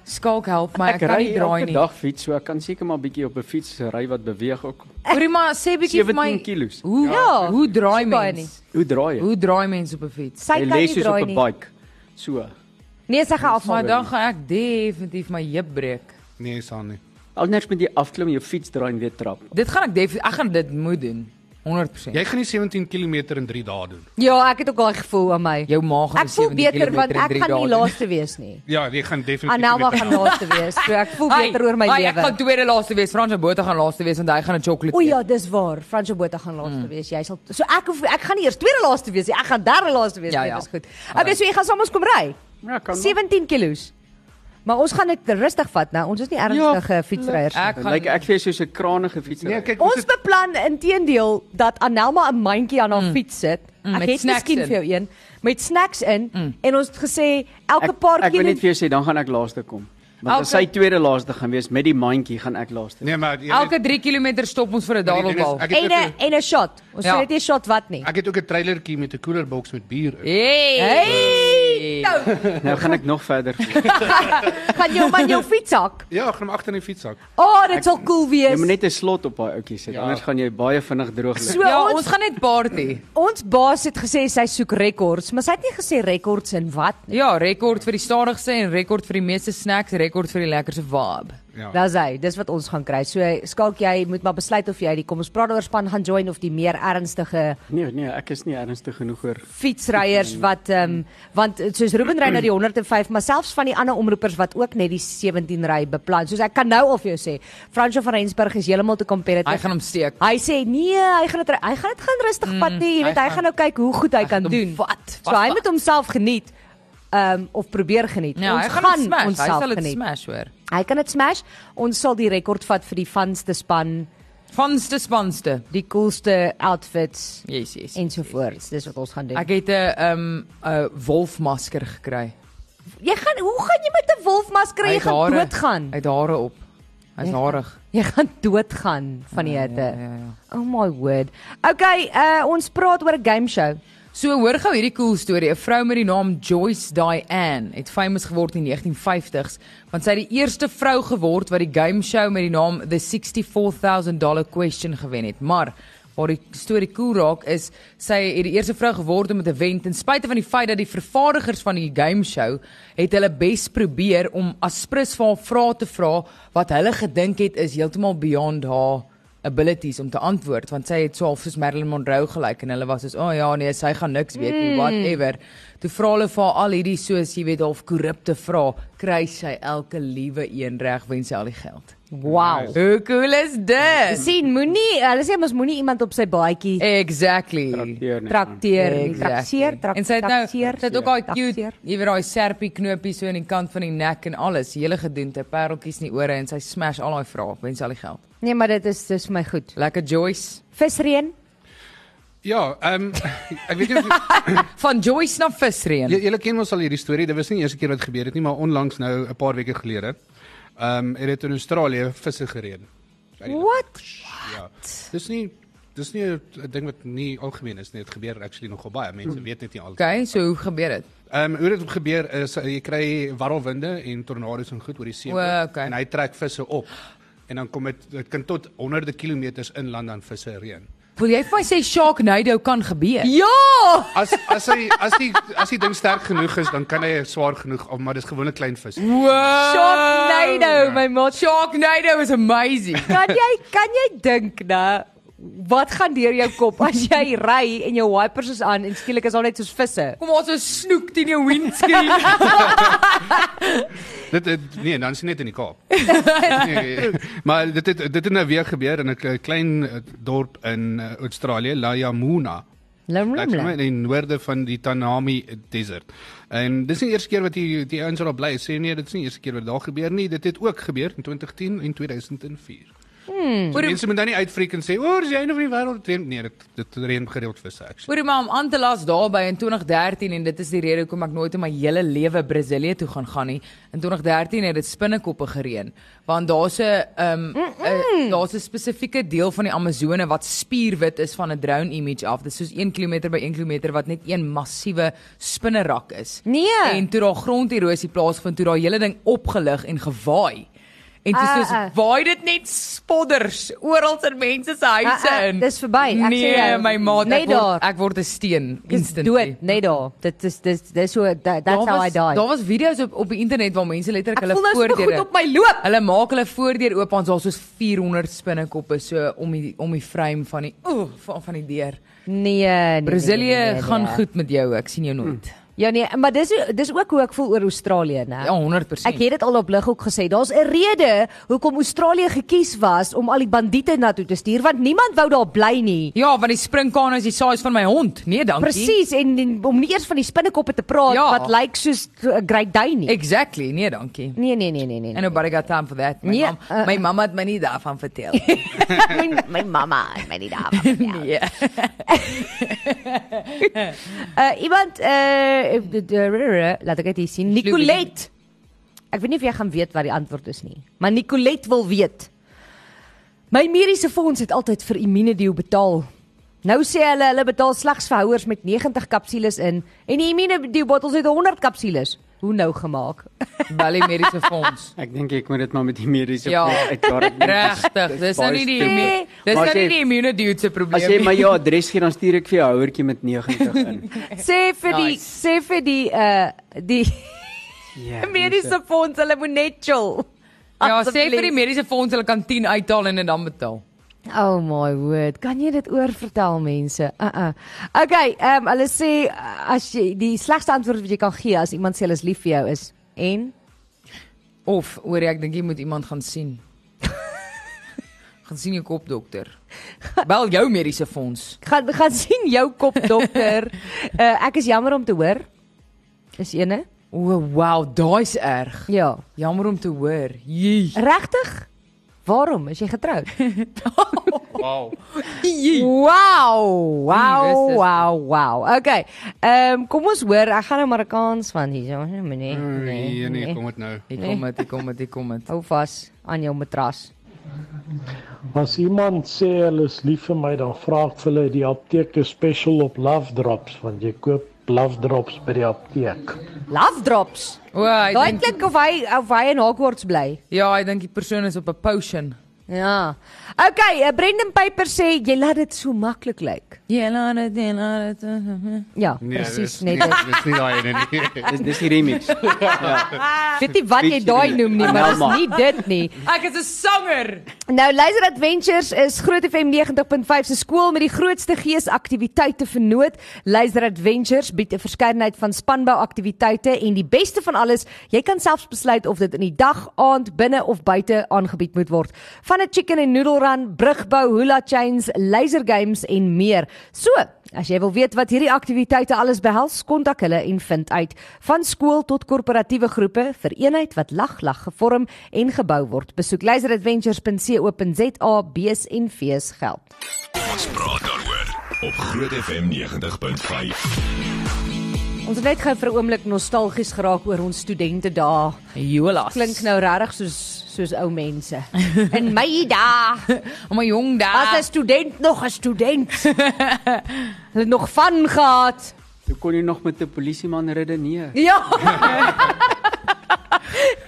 [SPEAKER 3] Skalk help my, ek, kan
[SPEAKER 5] ry
[SPEAKER 3] nie draai
[SPEAKER 5] elke
[SPEAKER 3] nie.
[SPEAKER 5] dag fiets, so ek kan seker maar 'n bietjie op 'n fiets ry wat beweeg ook.
[SPEAKER 3] Hoorie maar sê bietjie vir
[SPEAKER 5] 17
[SPEAKER 3] my
[SPEAKER 5] kilos.
[SPEAKER 3] hoe
[SPEAKER 2] Ja.
[SPEAKER 3] hoe draai
[SPEAKER 2] Dis baie
[SPEAKER 3] mens?
[SPEAKER 5] Hoe draai jy?
[SPEAKER 3] Hoe draai mens op 'n fiets?
[SPEAKER 2] Sy
[SPEAKER 5] Jy
[SPEAKER 2] kan
[SPEAKER 5] lê
[SPEAKER 2] nie
[SPEAKER 5] soos
[SPEAKER 2] draai
[SPEAKER 5] op 'n
[SPEAKER 2] nie.
[SPEAKER 5] bike. So.
[SPEAKER 2] Nee, sy gaan afval.
[SPEAKER 3] Maar dan gaan ek definitief my heup breek.
[SPEAKER 4] Nee, is aan nie.
[SPEAKER 5] Al niks met die afklim, jou fiets draai en weer trap.
[SPEAKER 3] Dit gaan ek definitief ek gaan dit moet doen. 100%.
[SPEAKER 4] Jy gaan nie 17 km in 3 dae doen.
[SPEAKER 2] Ja, ek het ook daai gevoel aan my.
[SPEAKER 3] Jou maag gaan
[SPEAKER 2] Ek voel
[SPEAKER 3] 17
[SPEAKER 2] beter
[SPEAKER 3] kilometer
[SPEAKER 2] want
[SPEAKER 3] in
[SPEAKER 2] ek
[SPEAKER 3] drie
[SPEAKER 2] gaan nie
[SPEAKER 3] dae doen.
[SPEAKER 2] laaste wees nie.
[SPEAKER 4] Ja, jy gaan definitief
[SPEAKER 2] Anelma
[SPEAKER 4] nie
[SPEAKER 2] gaan
[SPEAKER 4] met-
[SPEAKER 2] laaste wees. So ek voel beter oor my
[SPEAKER 3] Ai, Ek
[SPEAKER 2] lewe.
[SPEAKER 3] gaan tweede laaste wees. Frans se boter gaan laaste wees want hy gaan 'n
[SPEAKER 2] O
[SPEAKER 3] sjokolade.
[SPEAKER 2] ja, dis waar. Fransjo Botha gaan laaste mm. wees. Jy sal So ek hoef ek gaan nie eers tweede laaste wees nie. Ek gaan derde laaste wees.
[SPEAKER 3] Ja,
[SPEAKER 2] nee,
[SPEAKER 3] ja.
[SPEAKER 2] Dis goed. Okay, so jy gaan saam ons kom ry.
[SPEAKER 5] Ja, kan.
[SPEAKER 2] 17 kilos. Maar ons gaan dit rustig vat, nou. Ons is nie ernstige fietsryers. nie.
[SPEAKER 3] Ek gaan
[SPEAKER 5] Lyk ek vir jou soos 'n kranige fiets.
[SPEAKER 4] Nee, kyk, ons
[SPEAKER 2] Ons
[SPEAKER 4] het
[SPEAKER 2] beplan inteendeel dat Anelma 'n mandjie aan haar fiets sit.
[SPEAKER 3] Mm,
[SPEAKER 2] Ek
[SPEAKER 3] met
[SPEAKER 2] het
[SPEAKER 3] snacks
[SPEAKER 2] miskien
[SPEAKER 3] in.
[SPEAKER 2] vir jou een met snacks in en ons het gesê elke paar
[SPEAKER 5] Ek wil
[SPEAKER 2] kilo
[SPEAKER 5] net vir jou sê dan gaan ek laaste kom. Want as
[SPEAKER 3] Elke-
[SPEAKER 5] sy tweede laaste gaan wees met die mandjie gaan ek laaste.
[SPEAKER 4] Nee, maar jy weet-
[SPEAKER 3] elke 3 km stop ons vir 'n
[SPEAKER 4] maar die ding is,
[SPEAKER 3] dadelbal.
[SPEAKER 4] Ek
[SPEAKER 2] en eh,
[SPEAKER 4] het ook
[SPEAKER 2] 'n en 'n shot. Ons
[SPEAKER 3] Ja.
[SPEAKER 2] sê dit nie 'n shot wat nie.
[SPEAKER 4] een- ek het ook 'n trailertjie met 'n koelerboks met bier. in.
[SPEAKER 3] Hey. Ja,
[SPEAKER 2] Hey! Nou,
[SPEAKER 5] Nou gaan ek nog verder.
[SPEAKER 2] gaan jou man jou fiets hak.
[SPEAKER 4] Ja, ek gaan hom agter in die fietsak.
[SPEAKER 2] O, oh, dit sal cool
[SPEAKER 5] Jy
[SPEAKER 2] wees.
[SPEAKER 5] moet Ja, net 'n slot op daai ouetjie sit,
[SPEAKER 4] Ja.
[SPEAKER 5] anders gaan jy baie vinnig droog lê.
[SPEAKER 2] So
[SPEAKER 3] Ja,
[SPEAKER 2] Nou, ons,
[SPEAKER 3] ons gaan net party.
[SPEAKER 2] ons baas het gesê sy soek rekords, maar sy het nie gesê rekords in wat nie.
[SPEAKER 3] Ja, rekord vir die stadigste en rekord vir die meeste snacks, rekord vir die lekkerste vibe.
[SPEAKER 4] Ja.
[SPEAKER 2] Daar's hy, dis wat ons gaan kry. So skalk jy moet maar besluit of jy die kom ons praat oor span gaan join of die meer ernstige
[SPEAKER 5] Nee, nee, ek is nie ernstig genoeg oor.
[SPEAKER 2] fietsryers
[SPEAKER 3] Mm.
[SPEAKER 2] wat ehm um, want soos Ruben ry na die 105, maar selfs van die ander omroepers wat ook net die 17 ry beplan. Soos ek kan nou al vir jou sê, Fransjo van Rensburg is heeltemal te
[SPEAKER 3] Hy
[SPEAKER 2] competitive.
[SPEAKER 3] gaan Mm, hom steek.
[SPEAKER 2] Hy sê nee, hy gaan dit hy gaan dit gaan rustig vat nie, jy weet hy gaan nou kyk hoe goed hy kan
[SPEAKER 3] gaan hom
[SPEAKER 2] doen.
[SPEAKER 3] vat,
[SPEAKER 2] So hy moet homself geniet. Ehm um, of probeer geniet.
[SPEAKER 3] Ja, hy
[SPEAKER 2] ons
[SPEAKER 3] gaan hom smash. Hy
[SPEAKER 2] onsself
[SPEAKER 3] sal dit
[SPEAKER 2] geniet.
[SPEAKER 3] smash hoor.
[SPEAKER 2] Hy kan dit smash. Ons sal die rekord vat vir die vanste span,
[SPEAKER 3] Vanste spanste.
[SPEAKER 2] die coolste outfits
[SPEAKER 3] Yes, yes.
[SPEAKER 2] ensovoorts. Dis wat ons gaan doen.
[SPEAKER 3] Ek het 'n um 'n wolfmasker gekry.
[SPEAKER 2] Jy gaan hoe gaan jy met 'n wolfmasker
[SPEAKER 3] Hy
[SPEAKER 2] jy
[SPEAKER 3] het
[SPEAKER 2] gaan
[SPEAKER 3] hare-
[SPEAKER 2] doodgaan.
[SPEAKER 3] Hy het hare op. Hy's
[SPEAKER 2] Jy gaan-
[SPEAKER 3] harig.
[SPEAKER 2] Jy gaan doodgaan van die hitte.
[SPEAKER 3] Ja, ja, ja.
[SPEAKER 2] Oh my word. Okay, uh ons praat oor 'n game show.
[SPEAKER 3] So hoor gou hierdie cool storie. 'n Vrou met die naam Joyce Diane het famous geword in die 1950s want sy het die eerste vrou geword wat die game show met die naam The $64000 Question gewen het. Maar waar die storie cool raak is sy het die eerste vrou geword om dit te wen ten spyte van die feit dat die vervaardigers van die game show het hulle bes probeer om aspres vir haar vrae te vra wat hulle gedink het is heeltemal beyond haar abilities om te antwoord want sy het so half soos Marilyn Monroe gelyk en hulle was soos o oh, ja nee sy gaan niks weet
[SPEAKER 2] Mm.
[SPEAKER 3] nie whatever. Toe vra hulle vir haar al hierdie soos jy weet half korrupte vrae, kry sy elke liewe een reg wen sy al die geld.
[SPEAKER 2] Wow.
[SPEAKER 3] Hoe cool is dit?
[SPEAKER 2] Sien, moenie hulle sê mos moenie iemand op sy baadjie
[SPEAKER 3] Eh. Exactly.
[SPEAKER 5] Trakteer nie.
[SPEAKER 2] trakteer, nie.
[SPEAKER 3] Exactly.
[SPEAKER 2] trakseer, trak-
[SPEAKER 3] En sy het nou sy
[SPEAKER 2] trakseer.
[SPEAKER 3] het ook daai cute,
[SPEAKER 2] Trakseer.
[SPEAKER 3] jy weet daai serpie knoopie so aan die kant van die nek en alles, die hele gedoente, pareltjies in die ore en sy smash al daai vrae, wen sy al die geld.
[SPEAKER 2] Nee, maar dit is dis vir my goed.
[SPEAKER 3] Lekker Joyce.
[SPEAKER 2] Visreën.
[SPEAKER 4] Ja, ehm ek weet nie of
[SPEAKER 3] Van Joyce na visreën.
[SPEAKER 4] Jy julle ken ons al hierdie storie. Dit was nie die eerste keer wat gebeur het nie, maar onlangs nou 'n paar weke gelede. Ehm um, het dit in Australië visse gereën.
[SPEAKER 2] What?
[SPEAKER 4] Ja. Dis nie dis nie 'n ding wat nie algemeen is nie. Dit gebeur actually nogal baie. Mense weet net nie al.
[SPEAKER 3] Okay, so hoe gebeur dit?
[SPEAKER 4] Ehm um, hoe dit gebeur is uh, jy kry warrelwinde en tornado's en goed oor die see.
[SPEAKER 3] O, okay.
[SPEAKER 4] En hy trek visse op. En dan kom dit dit kan tot honderde kilometers inland aan visse reën.
[SPEAKER 3] Wil jy vir my sê Sharknado kan gebeur?
[SPEAKER 2] Ja!
[SPEAKER 4] As as hy as die as die ding sterk genoeg is, dan kan hy swaar genoeg, maar dis gewone klein vis.
[SPEAKER 3] Wow.
[SPEAKER 2] Sharknado, my maat.
[SPEAKER 3] Sharknado is amazing.
[SPEAKER 2] Kan jy kan jy dink na wat gaan deur jou kop as jy ry en jou wipers is aan en skielik is al net soos visse?
[SPEAKER 3] Kom ons so snoek teen jou windscreen.
[SPEAKER 4] Dit dit- nee, dan is dit net in die Kaap. nee, maar dit het, dit het nou weer gebeur in 'n k- klein eh, dorp in eh, Australië, Layamuna. Ek sê
[SPEAKER 2] Limlim.
[SPEAKER 4] in die noorde van die Tanami Desert. En dis nie die eerste keer wat die die ouens daar bly sê nee, dit is nie die eerste keer wat dit daar gebeur nie. Dit het ook gebeur in 2010 en 2004. So, mense moet dan nie uitfreek en sê, "O, is jy een van die wêreld?" Nee, dit dit reën gereeld visse actually.
[SPEAKER 3] Oor maar om aan te las daarby in 2013 en dit is die rede hoekom ek nooit in my hele lewe Brasilië toe gaan gaan nie. In 2013 het dit spinnekoppe gereën want daar's 'n ehm 'n- daar's 'n spesifieke deel van die Amazone wat spierwit is van 'n drone image af. Dit is soos 1 km by 1 km wat net een massiewe spinnerak is.
[SPEAKER 2] Nee.
[SPEAKER 3] En toe daar gronderosie plaasvind, toe daai hele ding opgelig en gewaai. En dit is
[SPEAKER 2] Ah,
[SPEAKER 3] soos
[SPEAKER 2] ah.
[SPEAKER 3] waai dit net spodders oral in mense se huise
[SPEAKER 2] Ah, ah,
[SPEAKER 3] in.
[SPEAKER 2] dis verby, ek sê
[SPEAKER 3] nee,
[SPEAKER 2] jou.
[SPEAKER 3] my maat,
[SPEAKER 2] Net
[SPEAKER 3] ek word,
[SPEAKER 2] daar.
[SPEAKER 3] ek word 'n steen
[SPEAKER 2] Dis
[SPEAKER 3] instantly.
[SPEAKER 2] dood, net daar. Dit is dis dis so that, that's
[SPEAKER 3] Daar
[SPEAKER 2] how I
[SPEAKER 3] was-
[SPEAKER 2] die.
[SPEAKER 3] Daar was video's op op die internet waar mense letterlik
[SPEAKER 2] Ek
[SPEAKER 3] hulle
[SPEAKER 2] voel nou so goed
[SPEAKER 3] voordeure
[SPEAKER 2] op my loop.
[SPEAKER 3] Hulle maak hulle voordeur oop en daar's soos 400 spinnekoppe so om die om die frame van die ooh van, van die deur.
[SPEAKER 2] Nee, nee. nee, nee, nee,
[SPEAKER 3] Brasilië
[SPEAKER 2] nee.
[SPEAKER 3] gaan goed met jou, ek sien jou nooit.
[SPEAKER 2] Ja nee, maar dis dis ook hoe ek voel oor Australië, né?
[SPEAKER 3] Ja, 100%.
[SPEAKER 2] Ek het dit al op lighoek gesê. Daar's 'n rede hoekom Australië gekies was om al die bandiete na toe te stuur want niemand wou daar bly nie.
[SPEAKER 3] Ja, want die springkaan is die size van my hond. Nee, dankie.
[SPEAKER 2] Presies en, en om nie eers van die spinnekoppe te praat
[SPEAKER 3] Ja.
[SPEAKER 2] wat lyk soos 'n great dane nie.
[SPEAKER 3] Exactly. Nee, dankie.
[SPEAKER 2] Nee nee nee nee nee.
[SPEAKER 3] And nobody got time for that. My
[SPEAKER 2] Nee,
[SPEAKER 3] mam,
[SPEAKER 2] uh,
[SPEAKER 3] my mamma het my nie daarvan vertel.
[SPEAKER 2] my, my mamma en my nie daar. Ja.
[SPEAKER 3] nee.
[SPEAKER 2] Uh iemand uh d- d- r- r- laat ek dit hier sien. Nicolette. Ek weet nie of jy gaan weet wat die antwoord is nie, maar Nicolette wil weet. My mediese fonds het altyd vir Immunedio betaal. Nou sê hulle hulle betaal slegs vir houers met 90 kapsules in en die Immunedio bottels het 100 kapsules. Hoe nou gemaak?
[SPEAKER 3] Bally mediese fonds.
[SPEAKER 5] Ek dink ek moet dit maar met die mediese
[SPEAKER 3] Ja.
[SPEAKER 5] fonds uitklaar. Ek dink dis-
[SPEAKER 3] Regtig, dis nou
[SPEAKER 5] baie
[SPEAKER 3] nie die
[SPEAKER 5] slim.
[SPEAKER 3] immu- dis
[SPEAKER 5] Maar
[SPEAKER 3] nou
[SPEAKER 5] as
[SPEAKER 3] nie
[SPEAKER 5] jy-
[SPEAKER 3] die immune dude se
[SPEAKER 5] As
[SPEAKER 3] probleem
[SPEAKER 5] jy my
[SPEAKER 3] nie.
[SPEAKER 5] ja adres gee, dan stuur ek vir jou 'n houertjie met 90 in.
[SPEAKER 2] Sê vir die
[SPEAKER 3] Nice.
[SPEAKER 2] sê vir die uh die
[SPEAKER 5] Ja.
[SPEAKER 2] mediese fonds hulle moet net chill.
[SPEAKER 3] Ja, sê vir die
[SPEAKER 2] Asseblief.
[SPEAKER 3] mediese fonds hulle kan 10 uithaal en dit dan betaal.
[SPEAKER 2] Oh my word, kan jy dit oorvertel mense? Uh uh. Okay, ehm um, hulle sê uh, as jy die slegste antwoord wat jy kan gee as iemand sê hulle is lief vir jou is en
[SPEAKER 3] Of oor ek dink jy moet iemand gaan sien. gaan sien jou kopdokter. Bel jou mediese fonds.
[SPEAKER 2] gaan gaan sien jou kop dokter. uh ek is jammer om te hoor. Is ene?
[SPEAKER 3] O, wow, daai's erg.
[SPEAKER 2] Ja.
[SPEAKER 3] Jammer om te hoor. Jee.
[SPEAKER 2] Regtig? Waarom is jy getroud?
[SPEAKER 4] Wow.
[SPEAKER 3] Jee.
[SPEAKER 2] Wow, wow,
[SPEAKER 3] Christus.
[SPEAKER 2] wow, wow. Okay. Ehm um, kom ons hoor, ek gaan nou Marokkaans van hier, ja, nee.
[SPEAKER 4] Nee, nee, kom dit nou.
[SPEAKER 3] Ek kom met, ek kom met, ek kom met.
[SPEAKER 2] Hou vas aan jou matras.
[SPEAKER 6] As iemand sê hulle is lief vir my, dan vra ek vir hulle die apteek is special op love drops want jy koop love drops by die apteek.
[SPEAKER 2] Love drops.
[SPEAKER 3] O, hy
[SPEAKER 2] Daai
[SPEAKER 3] dink
[SPEAKER 2] klink of hy of hy in Hogwarts bly.
[SPEAKER 3] ja, hy dink die persoon is op 'n potion.
[SPEAKER 2] Ja. Okay, eh, Brendan Piper sê jy laat dit so maklik lyk.
[SPEAKER 3] Ja, laat dit, ja, laat dit.
[SPEAKER 2] Ja,
[SPEAKER 4] Nee,
[SPEAKER 2] presies
[SPEAKER 4] dis
[SPEAKER 2] net.
[SPEAKER 4] nie-
[SPEAKER 2] dit.
[SPEAKER 4] Dis nie daai ene nie.
[SPEAKER 5] Dis dis die remix.
[SPEAKER 2] Weet nie wat jy
[SPEAKER 5] Bietjie
[SPEAKER 2] daai
[SPEAKER 5] die-
[SPEAKER 2] noem nie, maar dis
[SPEAKER 5] Anelma.
[SPEAKER 2] nie dit nie.
[SPEAKER 3] Ek is 'n sanger.
[SPEAKER 2] Nou Laser Adventures is Groot FM 90.5 se skool met die grootste geesaktiwiteite vir nood. Laser Adventures bied 'n verskeidenheid van spanbouaktiwiteite en die beste van alles, jy kan selfs besluit of dit in die dag, aand, binne of buite aangebied moet word. Van 'n chicken and noodle run, brugbou, hula chains, laser games en meer. So, as jy wil weet wat hierdie aktiwiteite alles behels, kontak hulle en vind uit. Van skool tot korporatiewe groepe vir eenheid wat lag lag gevorm en gebou word. Besoek laseradventures.co.za BSNV's geld.
[SPEAKER 1] Ons praat daaroor op Groot FM 90.5.
[SPEAKER 2] Ons het net gou vir 'n oomblik nostalgies geraak oor ons studente dae.
[SPEAKER 3] Jolas.
[SPEAKER 2] Klink nou regtig soos soos ou mense. In my dae
[SPEAKER 3] Maar jong
[SPEAKER 2] was 'n
[SPEAKER 3] daar.
[SPEAKER 2] student nog 'n student. Hulle het nog van gehad.
[SPEAKER 5] Toe kon jy nog met 'n polisieman Nee. redeneer.
[SPEAKER 2] Ja.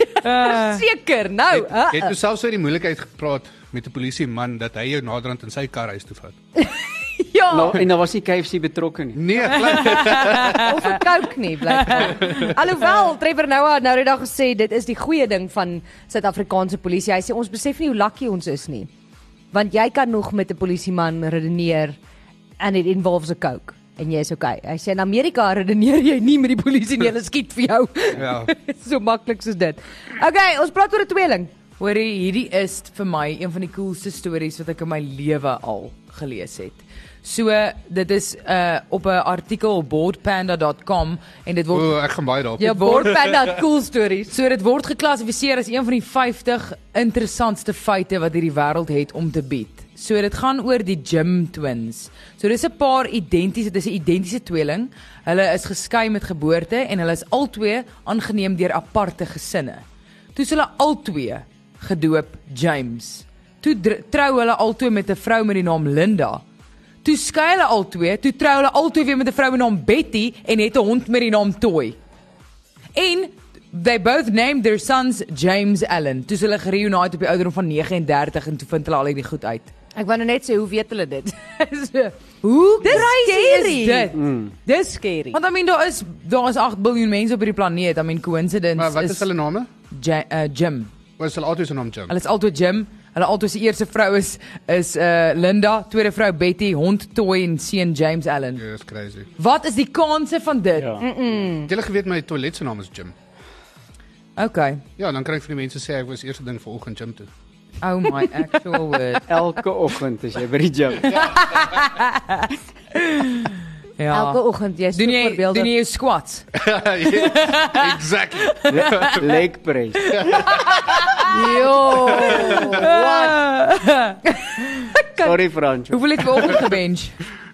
[SPEAKER 2] Seker nou. Uh,
[SPEAKER 4] Jy het toe selfs oor die moeilikheid gepraat met 'n polisieman dat hy jou naderhand in sy kar huis toe vat.
[SPEAKER 2] ja.
[SPEAKER 5] Nou, en daar was nie KFC betrokke nie.
[SPEAKER 4] Nee, glad.
[SPEAKER 2] of 'n kook nie blykbaar. Alhoewel Trevor Noah het nou die dag gesê dit is die goeie ding van Suid-Afrikaanse polisie. Hy sê ons besef nie hoe lucky ons is nie. Want jy kan nog met 'n polisieman redeneer and it involves a coke en jy's okay. Hy sê in Amerika redeneer jy nie met die polisie nie, hulle skiet vir jou.
[SPEAKER 4] Ja.
[SPEAKER 2] so maklik soos dit. Okay, ons praat oor 'n tweeling.
[SPEAKER 3] Hoorie, hierdie is t- vir my een van die coolste stories wat ek in my lewe al gelees het. So dit is uh op 'n artikel op boardpanda.com en dit word
[SPEAKER 4] O, ek gaan baie daarop.
[SPEAKER 3] Ja,
[SPEAKER 2] Boardpanda cool stories.
[SPEAKER 3] So dit word geklassifiseer as een van die 50 interessantste feite wat hierdie wêreld het om te bied. So dit gaan oor die Gym Twins. So dis 'n paar identiese, dis 'n identiese tweeling. Hulle is geskei met geboorte en hulle is albei aangeneem deur aparte gesinne. Toe is hulle albei gedoop James. Toe dr- trou hulle albei met 'n vrou met die naam Linda. Toe skei hulle albei, toe trou hulle albei weer met 'n vrou met die naam Betty en het 'n hond met die naam Toy. En they both named their sons James Allen. Toe is hulle gereunite op die ouderdom van 39 en toe vind hulle al hierdie goed uit.
[SPEAKER 2] Ek wou nou net sê, hoe weet hulle dit? so,
[SPEAKER 3] Hoe
[SPEAKER 2] dis
[SPEAKER 3] crazy
[SPEAKER 2] scary.
[SPEAKER 3] is dit?
[SPEAKER 4] Mm.
[SPEAKER 2] Dis scary.
[SPEAKER 3] Want I mean daar is daar is 8 biljoen mense op hierdie planeet. I mean coincidence
[SPEAKER 4] Maar wat is hulle name?
[SPEAKER 3] Ja, uh, Jim.
[SPEAKER 4] Wat is hulle altyd se naam Jim?
[SPEAKER 3] Hulle is altyd Jim. Hulle altyd se eerste vrou is is uh, Linda, tweede vrou Betty, hond Toy en seun James Allen.
[SPEAKER 4] Ja, dis crazy.
[SPEAKER 3] Wat is die kanse van dit?
[SPEAKER 6] Ja.
[SPEAKER 4] Het julle geweet my toilet se naam is Jim?
[SPEAKER 3] Okay.
[SPEAKER 4] Ja, dan kry ek van die mense sê ek was eers ding vanoggend Jim toe.
[SPEAKER 3] Oh my actual word.
[SPEAKER 5] Elke oggend as jy by die gym.
[SPEAKER 3] Ja.
[SPEAKER 2] Elke oggend jy's
[SPEAKER 3] doen jy
[SPEAKER 2] voorbeelde.
[SPEAKER 3] doen jy jou squats?
[SPEAKER 4] Ja, exactly.
[SPEAKER 5] Leg press.
[SPEAKER 2] Jo.
[SPEAKER 5] Sorry Franco.
[SPEAKER 3] Hoeveel het jy vanoggend gebench?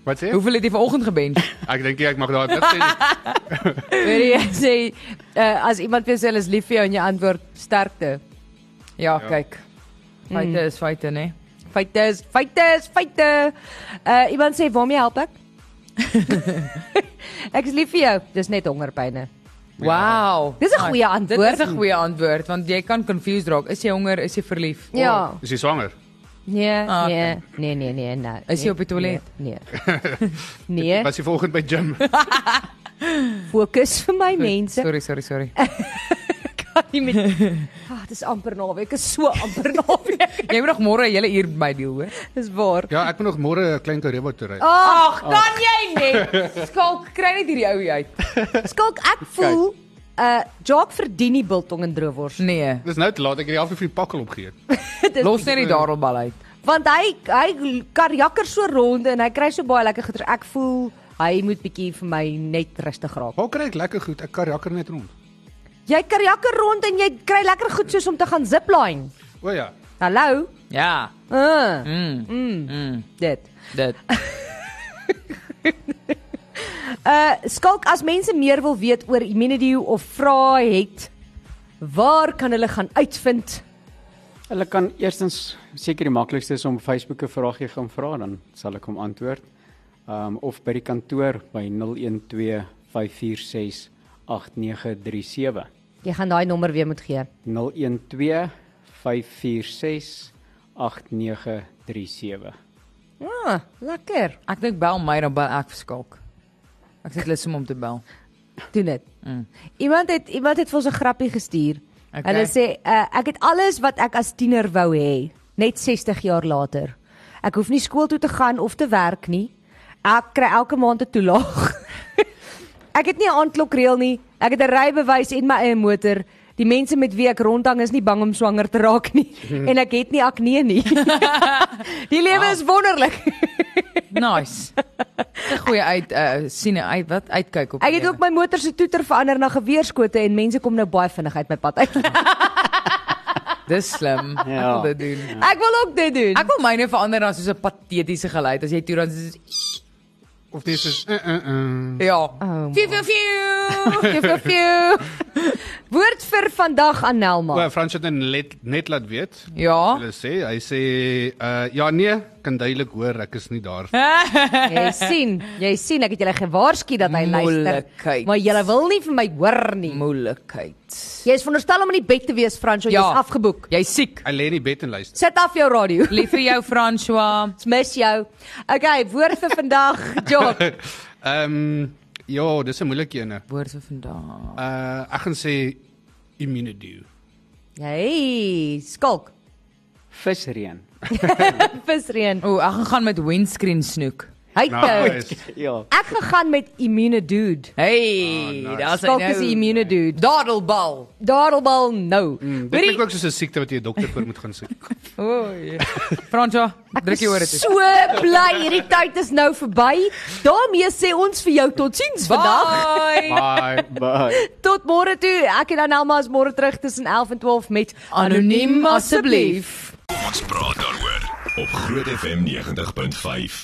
[SPEAKER 4] Wat sê?
[SPEAKER 3] Hoeveel het jy vanoggend gebench?
[SPEAKER 4] Ek dink nie ek mag daar dit sê. nie.
[SPEAKER 2] Wil jy sê uh, as iemand vir sel is lief vir jou en jy antwoord sterkte.
[SPEAKER 3] Ja, kyk. Feite is feite, né?
[SPEAKER 2] Feite is feite is feite. Uh iemand sê waarmee help ek? ek is lief vir jou. Dis net hongerpyne.
[SPEAKER 3] Wow.
[SPEAKER 2] Dis 'n goeie antwoord.
[SPEAKER 3] Ah, Dit is 'n goeie antwoord want jy kan confused raak. Is jy honger? Is Oh, jy verlief?
[SPEAKER 2] Ja.
[SPEAKER 4] Is jy swanger?
[SPEAKER 2] Nee,
[SPEAKER 3] Ah,
[SPEAKER 2] nee, nee, nee, nee, nee.
[SPEAKER 3] Is jy op die toilet?
[SPEAKER 2] Nee. Nee, nee.
[SPEAKER 4] Was jy vanoggend by gym?
[SPEAKER 2] fokus vir my mense.
[SPEAKER 3] Sorry, sorry, sorry.
[SPEAKER 2] Kan nie met Ag, Ah, dis amper naweek. Is so amper naweek.
[SPEAKER 3] Jy moet nog môre 'n hele uur by my deel, hoor.
[SPEAKER 2] Dis waar. Ah.
[SPEAKER 4] Ja, ek moet nog môre 'n klein karebo toe
[SPEAKER 2] Oh.
[SPEAKER 4] ry.
[SPEAKER 3] Ag, kan jy net? Skalk, kry net hierdie ou uit.
[SPEAKER 2] Skalk, ek voel uh Jock verdien nie biltong en droewors.
[SPEAKER 3] Nee.
[SPEAKER 4] Dis nou te laat, ek het die helfte van die pakkel opgegee.
[SPEAKER 2] Dis
[SPEAKER 3] Los net die darelbal uit.
[SPEAKER 2] want hy hy karjakker so rond en hy kry so baie lekker goeie. Ek voel hy moet bietjie vir my net rustig raak.
[SPEAKER 4] Waar kry ek lekker goed? Ek karjakker net rond.
[SPEAKER 2] Jy karjakker rond en jy kry lekker goed soos om te gaan zipline.
[SPEAKER 4] O ja.
[SPEAKER 2] Hallo.
[SPEAKER 3] Ja.
[SPEAKER 2] Uh,
[SPEAKER 3] Mm. Mm.
[SPEAKER 2] dit.
[SPEAKER 3] Dit.
[SPEAKER 2] Uh skalk as mense meer wil weet oor Immunity of vrae het, waar kan hulle gaan uitvind?
[SPEAKER 5] Hulle kan eerstens seker die maklikste is om op Facebook 'n vragie gaan vra dan sal ek hom antwoord. Ehm um, of by die kantoor by 012 546 8937.
[SPEAKER 2] Jy gaan daai nommer weer moet gee.
[SPEAKER 5] 012 546 8937.
[SPEAKER 2] Ah, lekker.
[SPEAKER 3] Ek dink bel my dan bel ek vir Skalk. Ek sê lus om hom te bel.
[SPEAKER 2] Doen dit. Mm. Iemand het iemand het vir ons 'n grappie gestuur.
[SPEAKER 3] Okay.
[SPEAKER 2] Okay. Hulle sê uh, ek het alles wat ek as tiener wou hê, net 60 jaar later. Ek hoef nie skool toe te gaan of te werk nie. Ek kry elke maand 'n toelaag. ek het nie 'n aandklokreël nie. Ek het 'n rybewys en my eie motor. Die mense met wie ek rondhang is nie bang om swanger te raak nie en ek het nie akne nie. die lewe is wonderlik.
[SPEAKER 3] Nice. 'n Goeie uit uh sien uit wat uitkyk op.
[SPEAKER 2] Ek het ook my motor se toeter verander na geweerskote en mense kom nou baie vinnig uit my pad uit.
[SPEAKER 3] Dis slim. Ek wil
[SPEAKER 5] Ja.
[SPEAKER 3] dit doen.
[SPEAKER 2] Ek wil ook dit doen.
[SPEAKER 3] Ek wil myne verander na soos 'n patetiese geluid as jy toe dan soos
[SPEAKER 4] Of dis is uh uh uh.
[SPEAKER 3] ja.
[SPEAKER 2] Oh,
[SPEAKER 3] Fiu fiu fiu.
[SPEAKER 2] Ek vir jou. Woord vir vandag aan Nelma.
[SPEAKER 4] Wel, Frans het net let, net laat weet.
[SPEAKER 3] Ja.
[SPEAKER 4] Hulle sê, hy sê uh ja nee, kan duidelik hoor ek is nie daar.
[SPEAKER 2] Jy sien, jy sien ek het julle gewaarsku dat hy luister.
[SPEAKER 3] Moeilikheid.
[SPEAKER 2] Maar julle wil nie vir my hoor nie.
[SPEAKER 3] Moeilikheid.
[SPEAKER 2] Jy is veronderstel om in die bed te wees, Frans, want
[SPEAKER 3] Ja.
[SPEAKER 2] jy's afgeboek.
[SPEAKER 3] Jy siek.
[SPEAKER 4] Hy lê in die bed en luister.
[SPEAKER 2] Sit af jou radio.
[SPEAKER 3] Lief vir jou François.
[SPEAKER 2] Ons mis jou. Okay, woord vir vandag, Job.
[SPEAKER 4] Ehm um, ja, dis 'n moeilike een.
[SPEAKER 3] Woord vir vandag.
[SPEAKER 4] Uh ek gaan sê immunity.
[SPEAKER 2] Hey, skulk.
[SPEAKER 5] Visreën.
[SPEAKER 2] Visreën.
[SPEAKER 3] O, ek gaan gaan met windscreen snoek.
[SPEAKER 2] Hy
[SPEAKER 4] Nou,
[SPEAKER 2] het
[SPEAKER 4] Nice.
[SPEAKER 5] Ja.
[SPEAKER 2] ek gegaan met Immune Dude.
[SPEAKER 3] Hey,
[SPEAKER 4] Ah, nice.
[SPEAKER 3] daar's hy
[SPEAKER 2] Dalk is die
[SPEAKER 3] nou.
[SPEAKER 2] Immune Dude.
[SPEAKER 3] Dadelbal. Mm.
[SPEAKER 2] Daarbal nou. Hoorie,
[SPEAKER 4] Dit klink ook soos 'n siekte wat jy 'n dokter vir moet gaan soek.
[SPEAKER 3] Oei. Franco, druk jy oor dit.
[SPEAKER 2] So bly hierdie tyd is nou verby. daarmee sê ons vir jou totsiens vandag.
[SPEAKER 3] Bye.
[SPEAKER 4] Bye.
[SPEAKER 5] Bye.
[SPEAKER 2] Tot môre toe. Ek en Annelma is môre terug tussen 11 en 12 met
[SPEAKER 3] Anoniem asseblief.
[SPEAKER 1] Kom ons praat daaroor op Groot FM 90.5.